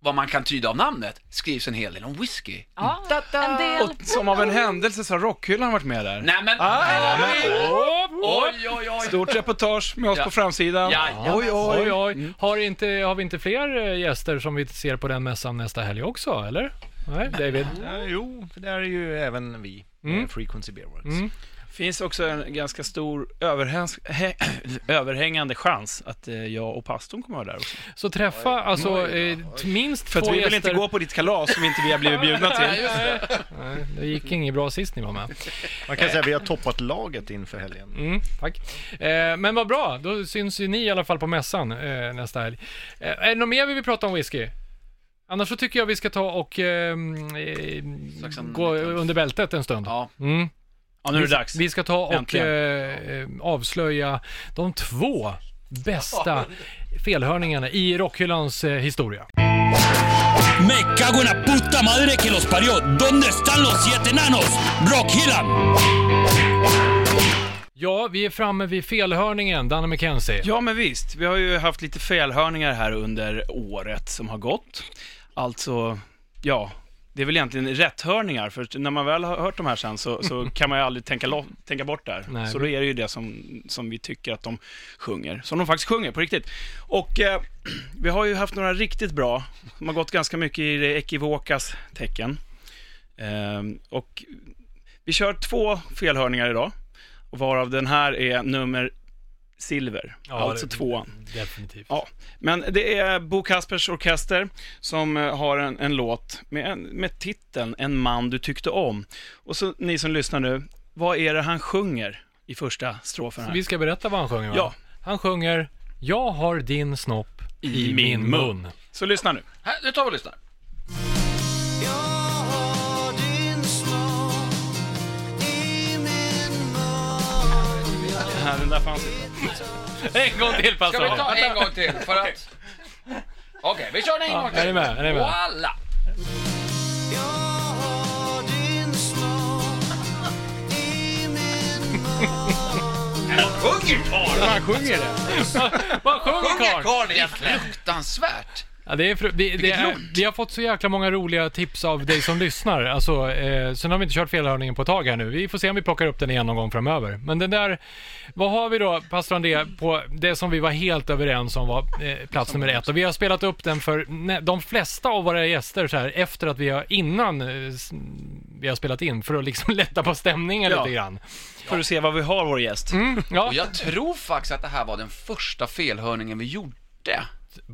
[SPEAKER 4] vad man kan tyda av namnet, skrivs en hel del om whisky.
[SPEAKER 9] Ja, en del.
[SPEAKER 3] Och som av en händelse så har Rockhyllan varit med där.
[SPEAKER 4] Nej men,
[SPEAKER 3] Ah,
[SPEAKER 4] nej, men-
[SPEAKER 3] oj,
[SPEAKER 4] oj, oj, oj.
[SPEAKER 3] Stort reportage med oss
[SPEAKER 4] Ja.
[SPEAKER 3] på
[SPEAKER 4] Mm.
[SPEAKER 3] framsidan.
[SPEAKER 4] Jajamän.
[SPEAKER 3] Oj, oj,
[SPEAKER 2] Oj, oj. Har, inte, har vi inte fler eh, gäster som vi ser på den mässan nästa helg också, eller? Nej, David?
[SPEAKER 7] Ja, jo, för det är ju även vi, mm. Frequency eh, Beer Works.
[SPEAKER 3] finns också en ganska stor överhängs- hä- överhängande chans att eh, jag och pastorn kommer vara där också.
[SPEAKER 2] Så träffa alltså
[SPEAKER 6] Oj, oj.
[SPEAKER 2] eh, t- minst
[SPEAKER 3] För att
[SPEAKER 2] två
[SPEAKER 3] vi vill
[SPEAKER 2] gäster.
[SPEAKER 3] inte gå på ditt kalas som inte vi har blivit bjudna till.
[SPEAKER 2] Nej, det gick inget bra sist ni var med.
[SPEAKER 7] Man kan säga att vi har toppat laget inför helgen.
[SPEAKER 2] Mm, tack. Eh, men vad bra, då syns ju ni i alla fall på mässan eh, nästa helg. Eh, är det något mer vi vill prata om whisky? Annars så tycker jag vi ska ta och eh, mm, eh,
[SPEAKER 4] Saxa en
[SPEAKER 2] gå
[SPEAKER 4] liten-
[SPEAKER 2] under bältet en stund.
[SPEAKER 4] Ja,
[SPEAKER 2] Mm.
[SPEAKER 3] Ja, nu är det dags.
[SPEAKER 2] Vi ska ta och
[SPEAKER 3] Äntligen.
[SPEAKER 2] eh, eh, avslöja de två bästa felhörningarna i rockhyllans eh, historia.
[SPEAKER 1] Me cago en la puta madre que los parió. ¿Dónde están los siete enanos? Rock Hillan.
[SPEAKER 2] Ja, vi är framme vid felhörningen, Danne McKenzie.
[SPEAKER 3] Ja, men visst. Vi har ju haft lite felhörningar här under året som har gått. Alltså, ja, det är väl egentligen rätthörningar, för när man väl har hört de här sen så, så kan man ju aldrig tänka, lo- tänka bort där.
[SPEAKER 2] Nej.
[SPEAKER 3] Så då är det ju det som, som vi tycker att de sjunger, som de faktiskt sjunger på riktigt. Och eh, vi har ju haft några riktigt bra, som har gått ganska mycket i det ekivokas tecken. Ehm, och vi kör två felhörningar idag, och varav den här är nummer silver,
[SPEAKER 2] Ja,
[SPEAKER 3] alltså
[SPEAKER 2] det-
[SPEAKER 3] tvåan.
[SPEAKER 2] Definitivt.
[SPEAKER 3] Ja, men det är Bo Kaspers Orkester som eh, har en, en låt med, en, med titeln En man du tyckte om. Och så ni som lyssnar nu, vad är det han sjunger i första strofen här?
[SPEAKER 2] Vi ska berätta vad han sjunger, va?
[SPEAKER 3] Ja.
[SPEAKER 2] Han sjunger “Jag har din snopp i, min mun”.
[SPEAKER 3] Så lyssna nu.
[SPEAKER 4] här, nu tar vi och lyssnar.
[SPEAKER 3] Här, den där fanns inte.
[SPEAKER 2] En gång till
[SPEAKER 4] Ska vi
[SPEAKER 2] pastor!
[SPEAKER 4] ta en gång till för att... Okej, vi kör den en gång till.
[SPEAKER 2] Är ni med? Är ni med?
[SPEAKER 4] Voila!
[SPEAKER 3] Han sjunger det.
[SPEAKER 2] Vad sjunger
[SPEAKER 6] Sjunga
[SPEAKER 2] karln?
[SPEAKER 6] karln egentligen!
[SPEAKER 4] Fruktansvärt!
[SPEAKER 2] Ja, det är, fru- det, det är, vi har fått så jäkla många roliga tips av dig som lyssnar. Alltså, eh, sen har vi inte kört felhörningen på ett tag här nu. Vi får se om vi plockar upp den igen någon gång framöver. Men den där, vad har vi då, pastor André, på det som vi var helt överens om var eh, plats nummer ett. Och vi har spelat upp den för nä- de flesta av våra gäster så här, efter att vi har, innan eh, s- vi har spelat in, för att liksom lätta på stämningen
[SPEAKER 3] Ja.
[SPEAKER 2] lite grann.
[SPEAKER 3] Får du se vad vi har vår gäst.
[SPEAKER 2] Mm, ja.
[SPEAKER 4] Och jag tror faktiskt att det här var den första felhörningen vi gjorde.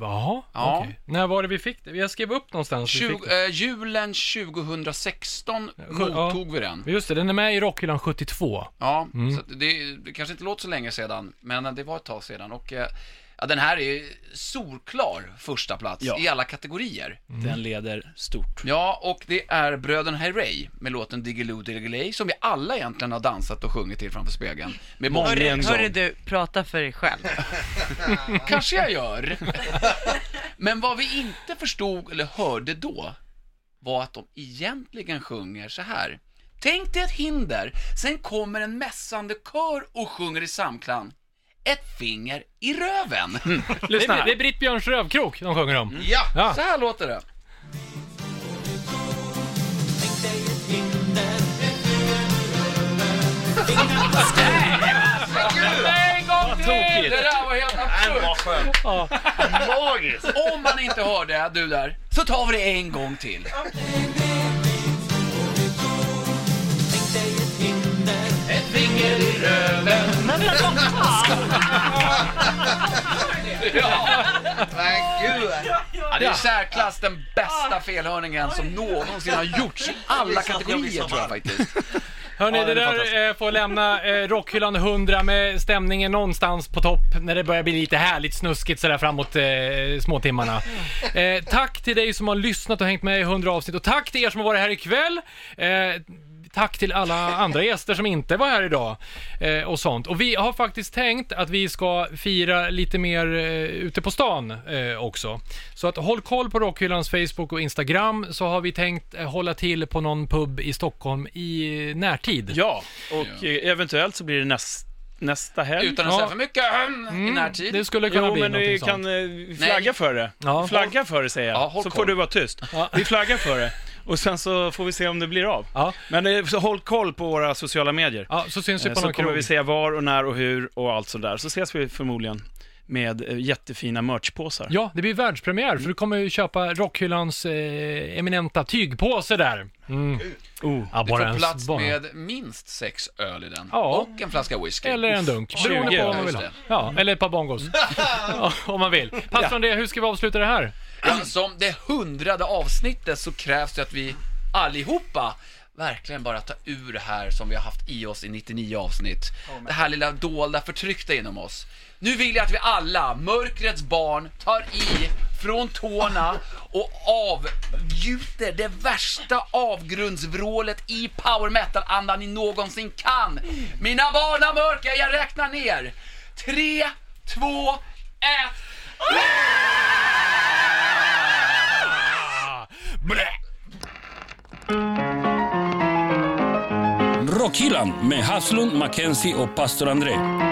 [SPEAKER 2] Jaha,
[SPEAKER 4] Ja.
[SPEAKER 2] okej. När var det vi fick det? Jag skrev upp någonstans. vi fick
[SPEAKER 4] Tjugo,
[SPEAKER 2] det.
[SPEAKER 4] eh, julen 2016
[SPEAKER 2] sju- ja.
[SPEAKER 4] mottog vi den.
[SPEAKER 2] Just det, den är med i Rockhyllan 72.
[SPEAKER 4] Ja,
[SPEAKER 2] Mm.
[SPEAKER 4] så att det, det kanske inte låter så länge sedan, men eh, det var ett tag sedan. Och eh, ja, den här är ju solklar första plats
[SPEAKER 3] Ja.
[SPEAKER 4] i alla kategorier.
[SPEAKER 2] Mm.
[SPEAKER 3] Den leder stort.
[SPEAKER 4] Ja, och det är Bröderna Herrey med låten Diggiloo Diggiley som vi alla egentligen har dansat och sjungit till framför spegeln. Med många
[SPEAKER 3] Hörru,
[SPEAKER 4] en sång.
[SPEAKER 5] Hörru du, prata för dig själv.
[SPEAKER 4] kanske jag gör. Men vad vi inte förstod eller hörde då var att de egentligen sjunger så här. Tänk dig ett hinder, sen kommer en mässande kör och sjunger i samklang. Ett finger i röven.
[SPEAKER 2] Det
[SPEAKER 3] Lyssna
[SPEAKER 2] är, det är
[SPEAKER 3] här.
[SPEAKER 2] Britt-Björns rövkrok de sjunger om.
[SPEAKER 4] Mm. Ja,
[SPEAKER 2] Ja.
[SPEAKER 4] så här låter det. Nej, en gång till! Det där var helt absurt.
[SPEAKER 7] Magiskt!
[SPEAKER 4] Om man inte hör det, du där, så tar vi det en gång till. Ett finger i röven. Ja,
[SPEAKER 6] Men gud!
[SPEAKER 4] Ja, det är i särklass den bästa felhörningen som någonsin har gjorts i alla kategorier tror jag faktiskt.
[SPEAKER 2] Hörni,
[SPEAKER 4] Ja,
[SPEAKER 2] det
[SPEAKER 4] det är
[SPEAKER 2] där eh, får lämna eh, Rockhyllan 100 med stämningen någonstans på topp när det börjar bli lite härligt snuskigt sådär framåt eh, småtimmarna. Eh, tack till dig som har lyssnat och hängt med i 100 avsnitt och tack till er som har varit här ikväll. Eh, Tack till alla andra gäster som inte var här idag eh, och sånt. Och vi har faktiskt tänkt att vi ska fira lite mer eh, ute på stan eh, också. Så att håll koll på Rockhyllans Facebook och Instagram så har vi tänkt eh, hålla till på någon pub i Stockholm i närtid.
[SPEAKER 3] Ja, och eh, eventuellt så blir det näst, nästa helg.
[SPEAKER 4] Utan att säga för mycket ahem, i
[SPEAKER 2] Mm, Det
[SPEAKER 4] närtid.
[SPEAKER 2] skulle kunna
[SPEAKER 3] Jo,
[SPEAKER 2] bli
[SPEAKER 3] men vi
[SPEAKER 2] någonting sånt.
[SPEAKER 3] kan eh, flagga
[SPEAKER 4] Nej.
[SPEAKER 3] för det.
[SPEAKER 2] Ja.
[SPEAKER 3] Flagga för det, säger jag.
[SPEAKER 4] Ja, håll
[SPEAKER 3] så får
[SPEAKER 4] koll.
[SPEAKER 3] du vara tyst.
[SPEAKER 2] Ja.
[SPEAKER 3] Vi flaggar för det. Och sen så får vi se om det blir av.
[SPEAKER 2] Ja.
[SPEAKER 3] Men eh, så håll koll på våra sociala medier.
[SPEAKER 2] Ja, så syns vi
[SPEAKER 3] Eh,
[SPEAKER 2] på
[SPEAKER 3] så
[SPEAKER 2] någon
[SPEAKER 3] kommer
[SPEAKER 2] krog.
[SPEAKER 3] vi se var och när och hur och allt sådär. Så ses vi förmodligen med eh, jättefina merchpåsar.
[SPEAKER 2] Ja, det blir världspremiär för du kommer ju köpa Rockhyllans eh, eminenta tygpåse där. Mm.
[SPEAKER 3] Oh.
[SPEAKER 2] Ja,
[SPEAKER 4] Du får
[SPEAKER 2] en-
[SPEAKER 4] plats
[SPEAKER 2] bara-
[SPEAKER 4] med minst sex öl i den.
[SPEAKER 2] Ja.
[SPEAKER 4] Och en flaska whisky.
[SPEAKER 2] Eller en dunk, beroende på vad man vill ha.
[SPEAKER 4] Ja,
[SPEAKER 2] Ja, eller ett par bongos. ja, om man vill. Pass från det, hur ska vi avsluta det här?
[SPEAKER 4] Ja, Som det hundrade avsnittet så krävs det att vi allihopa verkligen bara tar ur det här som vi har haft i oss i 99 avsnitt. Det här lilla dolda förtryckta inom oss. Nu vill jag att vi alla, mörkrets barn, tar i från tårna och avgjuter det värsta avgrundsvrålet i power metal-andan ni någonsin kan. Mina barn av mörker, jag räknar ner. Tre, två, ett.
[SPEAKER 1] Rockhyllan med Haslund, Mackenzie och pastor André.